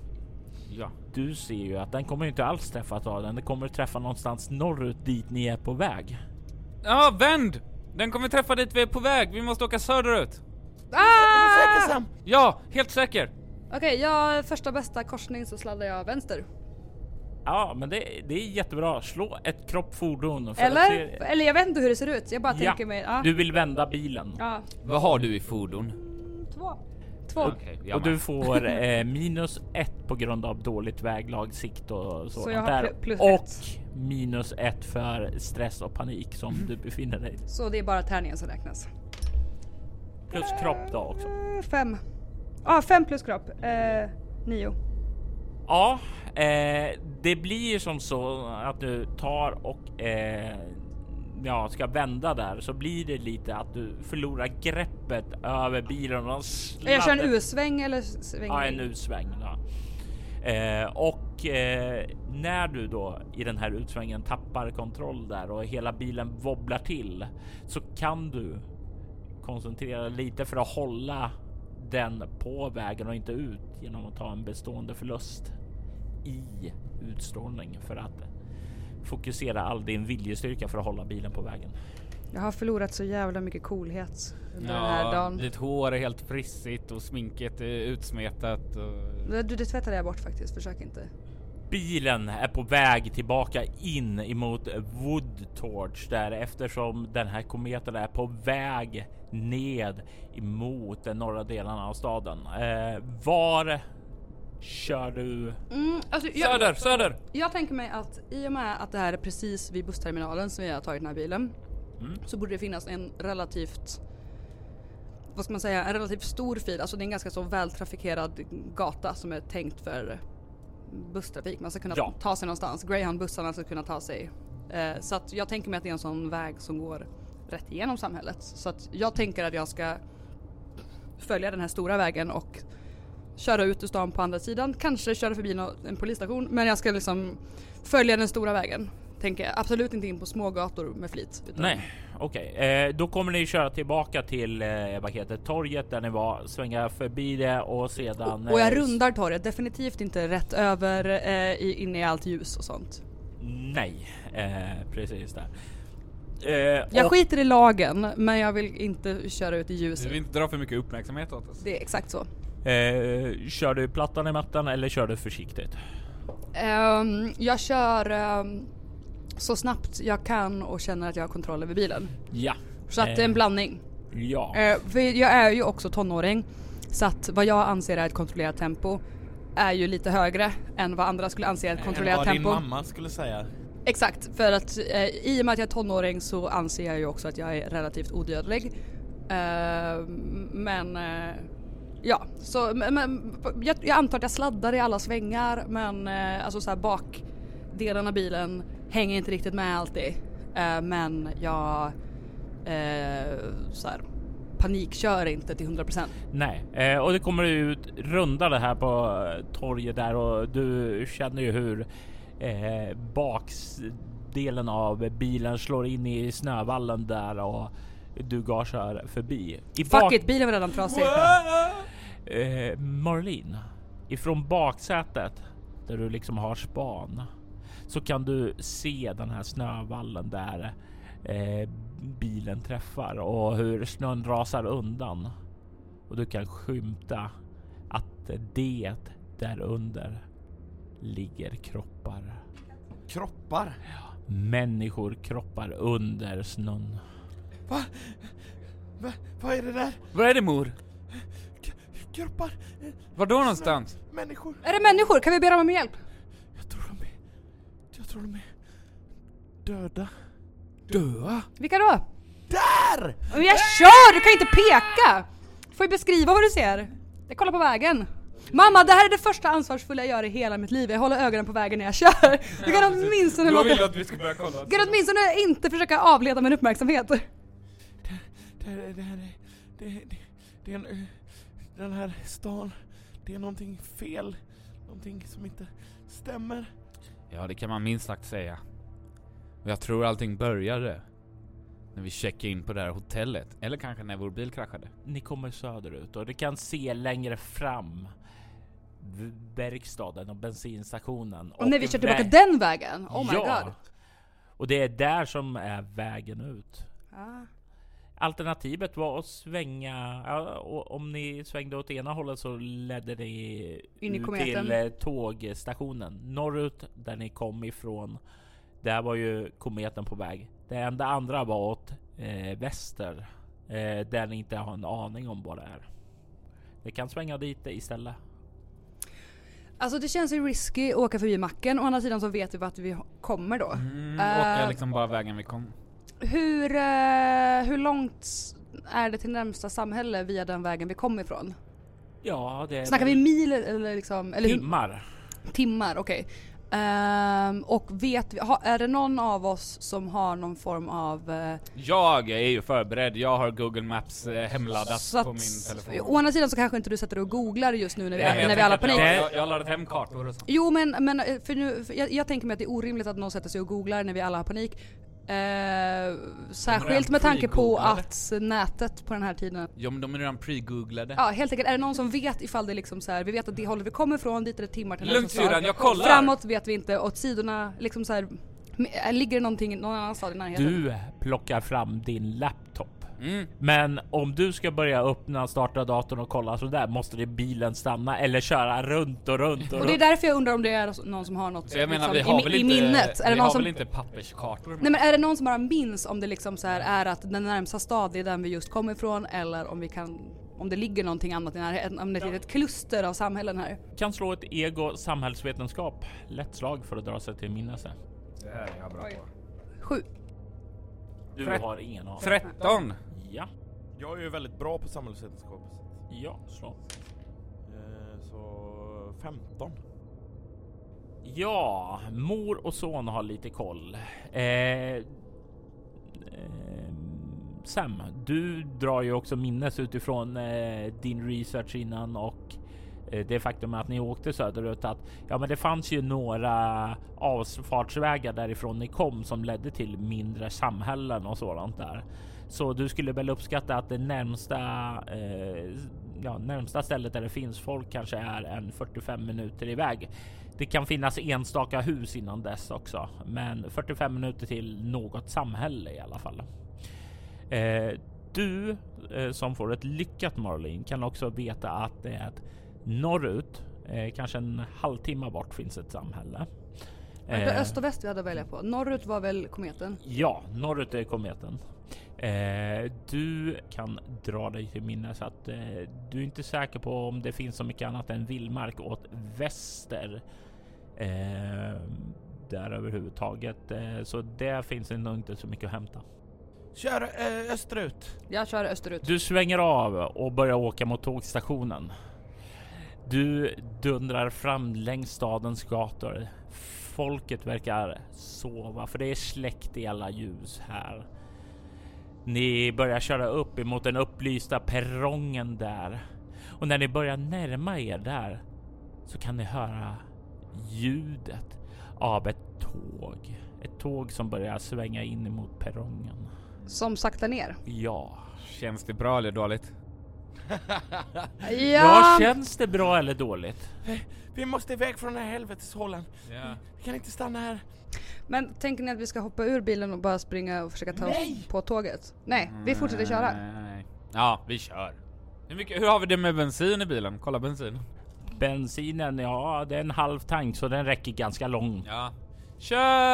Speaker 2: Ja.
Speaker 1: du ser ju att den kommer ju inte alls träffa av den. Den kommer träffa någonstans norrut dit ni är på väg.
Speaker 2: Ja, vänd! Den kommer träffa dit vi är på väg. Vi måste åka söderut.
Speaker 4: Ah!
Speaker 5: Sam!
Speaker 2: Ja, helt säker.
Speaker 4: Okej, jag första bästa korsning så sladdar jag vänster.
Speaker 1: Ja, men det, det är jättebra. Slå ett kroppfordon. För Att
Speaker 4: Eller?
Speaker 1: se,
Speaker 4: Eller jag vet inte hur det ser ut. Jag bara
Speaker 1: Ja.
Speaker 4: tänker mig... Ja.
Speaker 1: du vill vända bilen.
Speaker 4: ja.
Speaker 2: Vad har du i fordon?
Speaker 4: Två. Två.
Speaker 2: Okej,
Speaker 1: Och
Speaker 2: jag
Speaker 1: du
Speaker 2: du...
Speaker 1: får eh, minus ett på grund av dåligt väglag, sikt och sånt
Speaker 4: jag har
Speaker 1: där.
Speaker 4: pl- plus
Speaker 1: och
Speaker 4: ett. Mm.
Speaker 1: minus ett för stress och panik som du befinner dig i.
Speaker 4: Så det är bara tärningen som räknas.
Speaker 1: Plus kropp då också.
Speaker 4: Eh, Fem. Ja, ah, fem plus kropp. Eh, nio.
Speaker 1: Ja, eh, det blir ju som så att du tar och eh, ja, ska vända där så blir det lite att du förlorar greppet över bilen. Och
Speaker 4: Jag kör en U-sväng eller s- svänger
Speaker 1: Ja,
Speaker 4: in?
Speaker 1: en utsväng. Då. Eh, och eh, när du då i den här utsvängen tappar kontroll där och hela bilen wobblar till så kan du koncentrera dig lite för att hålla den på vägen och inte ut genom att ta en bestående förlust i utstrålning för att fokusera all din viljestyrka för att hålla bilen på vägen.
Speaker 4: Jag har förlorat så jävla mycket coolhet under den här
Speaker 2: Ja,
Speaker 4: dagen.
Speaker 2: ditt hår är helt frissigt och sminket är utsmetat och...
Speaker 4: Det... Du, det tvättade jag bort faktiskt. Försök inte.
Speaker 1: Bilen är på väg tillbaka in emot Woodtorch där eftersom den här kometen är på väg ned emot den norra delen av staden. Eh, var kör du?
Speaker 4: Mm, alltså, jag,
Speaker 2: Söder, söder!
Speaker 4: jag tänker mig att i och med att det här är precis vid bussterminalen som vi har tagit den här bilen. Så borde det finnas en relativt vad ska man säga, en relativt stor fil, alltså det är en ganska så vältrafikerad gata som är tänkt för busstrafik. Man ska kunna
Speaker 1: Ja.
Speaker 4: ta sig någonstans. Greyhound-bussarna ska kunna ta sig. Eh, så att jag tänker mig att det är en sån väg som går rätt igenom samhället. Så att jag tänker att jag ska följa den här stora vägen och köra ut ur stan på andra sidan. Kanske köra förbi nå- en polisstation men jag ska liksom följa den stora vägen. Tänker jag. Absolut inte in på små gator med flit. utan-
Speaker 1: Nej, okej, eh, då kommer ni köra tillbaka till eh, vad heter det, torget där ni var, svänga förbi det och sedan.
Speaker 4: Och jag
Speaker 1: eh,
Speaker 4: rundar torget, definitivt inte rätt över eh, i- in i allt ljus och sånt.
Speaker 1: Nej, eh, precis där. Eh,
Speaker 4: Jag
Speaker 1: och-
Speaker 4: skiter i lagen men jag vill inte köra ut i
Speaker 2: Du
Speaker 4: ljuset.
Speaker 2: vill inte dra för mycket uppmärksamhet åt oss.
Speaker 4: Det är exakt så.
Speaker 1: eh, kör du plattan i mattan eller kör du försiktigt?
Speaker 4: Ehm, jag kör ehm, så snabbt jag kan och känner att jag har kontroll över bilen.
Speaker 1: Ja.
Speaker 4: Så att det är en blandning.
Speaker 1: Ja.
Speaker 4: Eh, för jag är ju också tonåring så att vad jag anser är ett kontrollerat tempo är ju lite högre än vad andra skulle anse är ett
Speaker 7: Eh, Än
Speaker 4: kontrollerat
Speaker 7: vad
Speaker 4: tempo.
Speaker 7: din mamma skulle säga.
Speaker 4: Exakt, för att eh, i och med att jag är tonåring så anser jag ju också att jag är relativt odödlig. Eh, men eh, ja, så men, men, jag, jag antar att jag sladdar i alla svängar men eh, alltså så här bakdelen av bilen hänger inte riktigt med alltid. Eh, men jag eh, så här, panikkör inte till 100%.
Speaker 1: Nej, eh, och det kommer ut runda det här på eh, torget där och du känner ju hur eh, baksdelen av bilen slår in i snövallen där och du gasar förbi. I
Speaker 4: Fuck it, bilen var redan trasig.
Speaker 1: eh, Marlene, ifrån baksätet där du liksom har span så kan du se den här snövallen där eh, bilen träffar och hur snön rasar undan. Och du kan skymta att det där under ligger kroppar.
Speaker 7: Kroppar.
Speaker 1: Människor kroppar under snön.
Speaker 7: Va, vad är det där?
Speaker 2: Vad är det mor?
Speaker 7: Kroppar?
Speaker 2: Var då någonstans?
Speaker 7: Människor?
Speaker 4: Är det människor? Kan vi be dem om hjälp?
Speaker 7: Jag tror de är... Jag tror de är... Döda.
Speaker 4: Vilka då?
Speaker 7: Där!
Speaker 4: Men jag kör! Du kan inte peka! får ju beskriva vad du ser. Jag kollar på vägen. Mamma, det här är det första ansvarsfulla jag gör i hela mitt liv. Jag håller ögonen på vägen när jag kör. Du kan åtminstone
Speaker 2: Då
Speaker 4: låta...
Speaker 2: vill du att vi ska börja kolla.
Speaker 4: Kan åtminstone inte försöka avleda min uppmärksamhet.
Speaker 7: Det här, är- det här är... Det, det, det är en, ö- den här stan, det är någonting fel. Någonting som inte stämmer.
Speaker 2: Ja, det kan man minst sagt säga. Och jag tror allting började när vi checkade in på det här hotellet. Eller kanske när vår bil kraschade.
Speaker 1: Ni kommer söderut och du kan se längre fram v- verkstaden och bensinstationen.
Speaker 4: Och när vi kör tillbaka
Speaker 1: vä-
Speaker 4: den vägen. Oh my
Speaker 1: ja.
Speaker 4: god.
Speaker 1: Och det är där som är vägen ut.
Speaker 4: Ah.
Speaker 1: Alternativet var att svänga, ja, och om ni svängde åt ena hållet så ledde ni
Speaker 4: In i
Speaker 1: ut
Speaker 4: kometen.
Speaker 1: till eh, tågstationen norrut där ni kom ifrån. Där var ju kometen på väg. Det enda andra var åt eh, väster, eh, där ni inte har en aning om vad det är. Ni kan svänga dit istället.
Speaker 4: Alltså det känns ju risky att åka förbi macken, å andra sidan så vet vi vart vi kommer då.
Speaker 2: Mm,
Speaker 4: Eh.
Speaker 2: åka liksom bara vägen vi kom.
Speaker 4: Hur, eh, hur långt är det till närmsta samhälle via den vägen vi kom ifrån?
Speaker 1: Ja, det är
Speaker 4: Snackar vi mil eller liksom, eller hur,
Speaker 1: timmar.
Speaker 4: timmar? Okej. Ehm, och vet vi, ha, är det någon av oss som har någon form av... eh,
Speaker 2: Jag är ju förberedd, jag har Google Maps eh, hemladdat
Speaker 4: så att-
Speaker 2: på min telefon.
Speaker 4: Å andra sidan så kanske inte du sätter dig och googlar just nu när vi,
Speaker 2: Nej, men jag
Speaker 4: när vi
Speaker 2: tänker
Speaker 4: alla
Speaker 2: att jag-
Speaker 4: panik.
Speaker 2: Jag, jag har laddat hem kartor och sånt.
Speaker 4: Jo men, men eh, för nu, för jag, jag tänker mig att det är orimligt att någon sätter sig och googlar när vi alla har panik. Eh, särskilt med tanke på
Speaker 2: pre-googlade.
Speaker 4: att nätet på den här tiden
Speaker 2: Ja men de är redan pre-googlade.
Speaker 4: Ja helt enkelt, är det någon som vet ifall det liksom så här, vi vet att det håller vi kommer ifrån, dit är det timmar till
Speaker 2: Lugnt
Speaker 4: nästa stad.
Speaker 2: syrran, jag kollar!
Speaker 4: Framåt vet vi inte, åt sidorna liksom så här, m- ligger det någonting någon annan stad i närheten?
Speaker 1: Du plockar fram din laptop.
Speaker 2: Mm.
Speaker 1: Men om du ska börja öppna, starta datorn och kolla sådär måste det bilen stanna eller köra runt och runt och,
Speaker 4: Och det är därför jag undrar om det är någon som har något
Speaker 2: Så jag menar
Speaker 4: liksom,
Speaker 2: vi har
Speaker 4: i,
Speaker 2: väl
Speaker 4: i
Speaker 2: inte,
Speaker 4: minnet? Är det
Speaker 2: vi
Speaker 4: någon
Speaker 2: har
Speaker 4: som,
Speaker 2: väl inte papperskartor?
Speaker 4: Nej men är det någon som bara minns om det liksom så här är att den närmsta stad är den vi just kom ifrån eller om vi kan om det ligger någonting annat i närheten, om det är ett kluster av samhällen här.
Speaker 1: Kan slå ett ego samhällsvetenskap. Lätt slag för att dra sig till minnes.
Speaker 2: Det här är jag bra på.
Speaker 4: Sju.
Speaker 1: Du
Speaker 2: Tret-
Speaker 1: har ingen aning.
Speaker 2: 13!
Speaker 1: Ja,
Speaker 7: Jag är ju väldigt bra på samhällsvetenskap.
Speaker 1: ja, slå.
Speaker 7: Eh, Så 15.
Speaker 1: Ja, mor och son har lite koll. Eh, eh, Sam, du drar ju också minnes utifrån eh, din research innan och eh, det faktum att ni åkte söderut att ja, men det fanns ju några avfartsvägar därifrån ni kom som ledde till mindre samhällen och sådant där. Så du skulle väl uppskatta att det närmsta eh, ja, närmsta stället där det finns folk kanske är en 45 minuter iväg. Det kan finnas enstaka hus innan dess också, men 45 minuter till något samhälle i alla fall. Eh, du eh, som får ett lyckat Marlin kan också veta att det är ett norrut, eh, kanske en halvtimme bort finns ett samhälle.
Speaker 4: Var det
Speaker 1: Eh,
Speaker 4: öst och väst vi hade att välja på? Norrut var väl kometen?
Speaker 1: Ja, norrut är kometen. Eh, du kan dra dig till minnes att eh, du är inte säker på om det finns så mycket annat än vildmark åt väster. Eh, där överhuvudtaget. Eh, så där finns det nog inte så mycket att hämta.
Speaker 5: Kör eh, österut.
Speaker 4: Jag kör österut.
Speaker 1: Du svänger av och börjar åka mot tågstationen. Du dundrar fram längs stadens gator. Folket verkar sova för det är släckt i alla ljus här. Ni börjar köra upp emot den upplysta perrongen där och när ni börjar närma er där så kan ni höra ljudet av ett tåg. Ett tåg som börjar svänga in emot perrongen.
Speaker 4: Som sakta ner.
Speaker 1: Ja.
Speaker 2: Känns det bra eller dåligt?
Speaker 4: Ja!
Speaker 1: Ja, känns det bra eller dåligt?
Speaker 7: Vi måste iväg från den här helveteshålan.
Speaker 2: Ja.
Speaker 7: Vi kan inte stanna här.
Speaker 4: Men tänker ni att vi ska hoppa ur bilen och bara springa och försöka ta oss på tåget? Nej, vi fortsätter köra.
Speaker 2: Nej. Ja, vi kör. Hur, mycket, hur har vi det med bensin i bilen? Kolla bensin.
Speaker 1: Bensinen, ja det är en halv tank så den räcker ganska långt.
Speaker 2: Ja.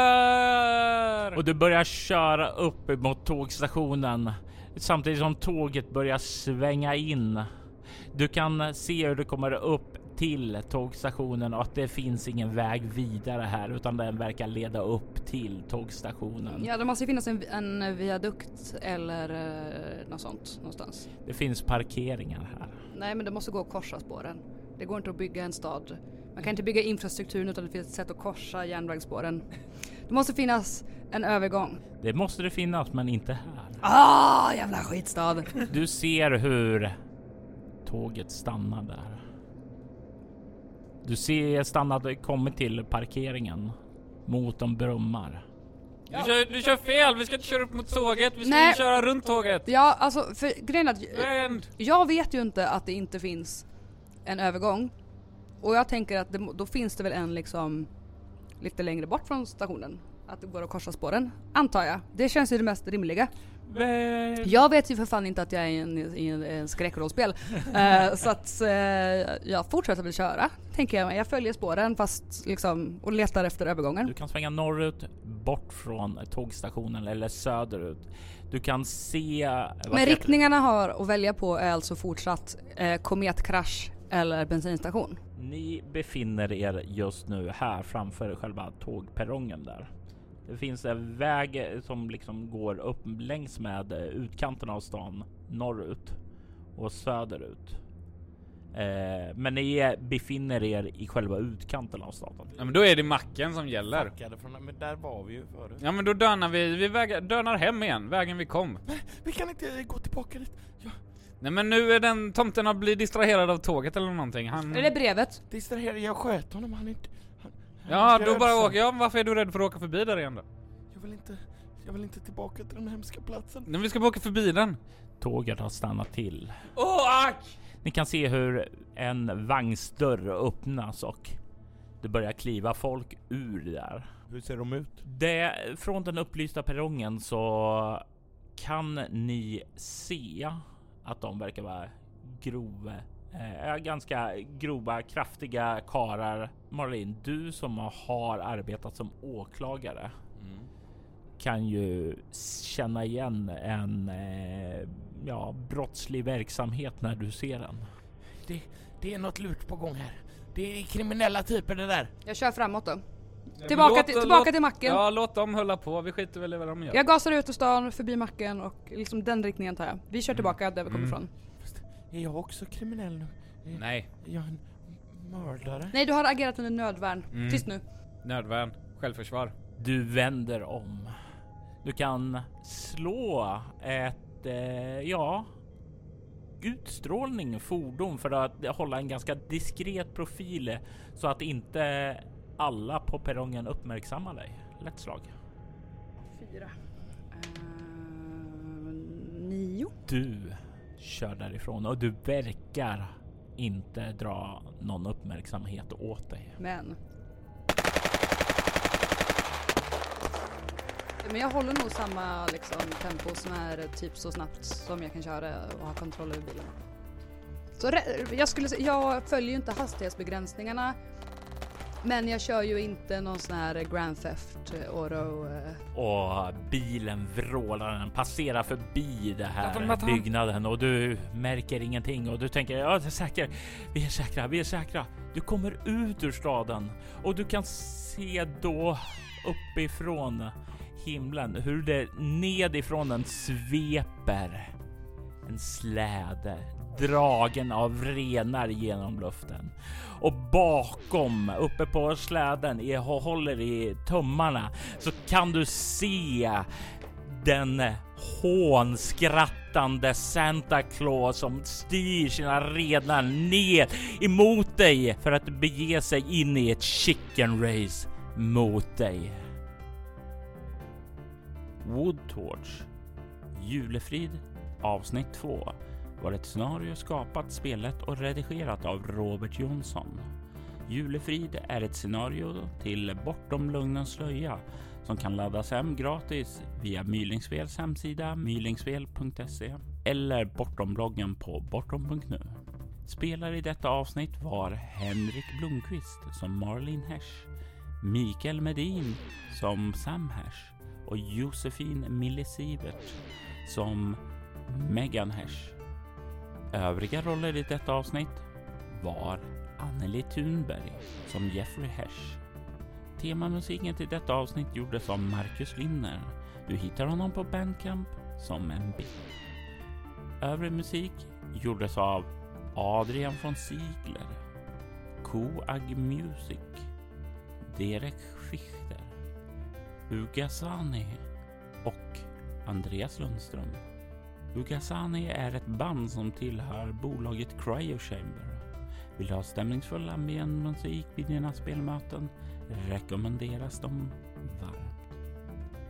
Speaker 2: Kör!
Speaker 1: Och du börjar köra upp mot tågstationen samtidigt som tåget börjar svänga in. Du kan se hur det kommer upp till tågstationen och att det finns ingen väg vidare här utan den verkar leda upp till tågstationen.
Speaker 4: Ja, det måste ju finnas en, en eh, viadukt eller eh, något sånt någonstans.
Speaker 1: Det finns parkeringar här.
Speaker 4: Nej, men det måste gå att korsa spåren. Det går inte att bygga en stad. Man kan inte bygga infrastrukturen utan det finns ett sätt att korsa järnvägsspåren. Det måste finnas en övergång.
Speaker 1: Det måste det finnas, men inte här.
Speaker 4: Ah, jävla skitstad!
Speaker 1: Du ser hur tåget stannar där. Du ser stannat kommer till parkeringen. Motorn brummar.
Speaker 2: Du, kör, du kör fel, vi ska inte köra upp mot tåget, vi ska
Speaker 4: Nej.
Speaker 2: köra runt tåget.
Speaker 4: Ja, alltså för grejen är att
Speaker 2: Vänd!
Speaker 4: jag vet ju inte att det inte finns en övergång. Och jag tänker att det, må- då finns det väl en liksom lite längre bort från stationen. Att det går att korsa spåren, antar jag. Det känns ju det mest rimliga. Jag vet ju för fan inte att jag är i en, i en, en skräckrollspel. Eh, så att eh, jag fortsätter väl köra, tänker jag. mig. Jag följer spåren fast liksom och letar efter övergången.
Speaker 1: Du kan svänga norrut, bort från tågstationen eller söderut. Du kan se... vad
Speaker 4: Men
Speaker 1: heter-
Speaker 4: riktningarna har att välja på är alltså fortsatt eh, kometkrasch eller bensinstation.
Speaker 1: Ni befinner er just nu här framför själva tågperrongen där. Det finns en väg som liksom går upp längs med eh, utkanten av stan norrut och söderut. Eh, men ni befinner er i själva utkanten av staden.
Speaker 2: Ja men då är det macken som gäller.
Speaker 5: Tackade från, men där var vi ju förut.
Speaker 2: Ja men då dönar vi, vi vägar, dönar hem igen, vägen vi kom.
Speaker 7: Vi kan inte eh, gå tillbaka dit.
Speaker 2: Nej men nu är den tomten har blivit distraherad av tåget eller någonting. Han...
Speaker 4: Är det brevet?
Speaker 7: Distrahera, jag sköt honom. Han är inte... Han, han
Speaker 2: Ja
Speaker 7: är
Speaker 2: då
Speaker 7: död
Speaker 2: bara
Speaker 7: sen.
Speaker 2: åker jag, varför är du rädd för att åka förbi där igen då?
Speaker 7: Jag vill inte... Jag vill inte tillbaka till den hemska platsen.
Speaker 2: Nej vi ska bara åka förbi den.
Speaker 1: Tåget har stannat till.
Speaker 2: Åh ack!
Speaker 1: Ni kan se hur en vagnsdörr öppnas och det börjar kliva folk ur där.
Speaker 5: Hur ser de ut?
Speaker 1: Det, från den upplysta perrongen så kan ni se att de verkar vara grova, eh, ganska grova, kraftiga karar. Marlin, du som har arbetat som åklagare
Speaker 2: Mm.
Speaker 1: kan ju känna igen en eh, ja, brottslig verksamhet när du ser den.
Speaker 5: Det, det är något lurt på gång här. Det är kriminella typer det där.
Speaker 4: Jag kör framåt då. Tillbaka, till, tillbaka till macken.
Speaker 2: Ja låt dem hålla på, vi skiter väl i vad de gör.
Speaker 4: Jag gasar ut ur stan, förbi macken och liksom den riktningen tar jag. Vi kör tillbaka där vi kommer
Speaker 2: Mm.
Speaker 4: ifrån.
Speaker 7: Är jag också kriminell nu?
Speaker 2: Nej,
Speaker 7: Är jag en mördare?
Speaker 4: Nej, du har agerat under nödvärn.
Speaker 2: Mm.
Speaker 4: Tyst nu.
Speaker 2: nödvärn, självförsvar.
Speaker 1: Du vänder om. Du kan slå ett, eh, ja, utstrålning fordon för att hålla en ganska diskret profil så att inte alla på perrongen uppmärksammar dig. Lätt slag.
Speaker 4: Fyra. Eh, nio.
Speaker 1: Du kör därifrån och du verkar inte dra någon uppmärksamhet åt dig.
Speaker 4: Men. Men jag håller nog samma liksom, tempo som är typ så snabbt som jag kan köra och ha kontroll över bilen. Så re- jag, skulle, sä- jag följer ju inte hastighetsbegränsningarna men jag kör ju inte någon sån här Grand Theft Auto. eh.
Speaker 1: Och bilen vrålar, den passerar förbi det
Speaker 2: Nathan,
Speaker 1: här
Speaker 2: Nathan.
Speaker 1: byggnaden och du märker ingenting och du tänker ja, jag är säker, vi är säkra, vi är säkra. Du kommer ut ur staden och du kan se då uppifrån himlen hur det nedifrån den sveper en släde dragen av renar genom luften. Och bakom, uppe på släden, i, håller i tummarna, så kan du se den hånskrattande Santa Claus som styr sina renar ner emot dig för att bege sig in i ett chicken race mot dig. Woodtorch, Julefrid, avsnitt 2 var ett scenario skapat, spelat och redigerat av Robert Jonsson. Julefrid är ett scenario till Bortom Lugnens slöja som kan laddas hem gratis via Mylingspels hemsida mylingspel.se eller Bortombloggen på bortom.nu. Spelare i detta avsnitt var Henrik Blomqvist som Marlin Hesch, Mikael Medin som Sam Hesch och Josefin Millesivert som Megan Hesch. Övriga roller i detta avsnitt var Anneli Thunberg som Jeffrey Hesh. Temamusiken till detta avsnitt gjordes av Marcus Limner. Du hittar honom på Bandcamp som en bit. Övrig musik gjordes av Adrian von Ziegler, Koag Music, Derek Schichter, Ugasani och Andreas Lundström. Ugasani är ett band som tillhör bolaget Cryochamber. Vill du ha stämningsfull ambientmusik vid dina spelmöten rekommenderas de varmt.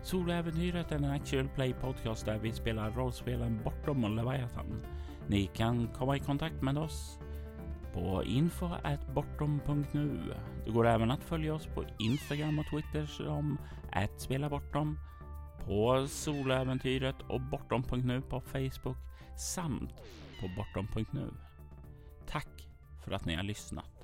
Speaker 1: Soläventyret är en actual play podcast där vi spelar rollspelen Bortom och Leviathan. Ni kan komma i kontakt med oss på info.bortom.nu. Det går även att följa oss på Instagram och Twitter som @spelabortom, på Soläventyret och bortom.nu på Facebook samt på bortom.nu. Tack för att ni har lyssnat.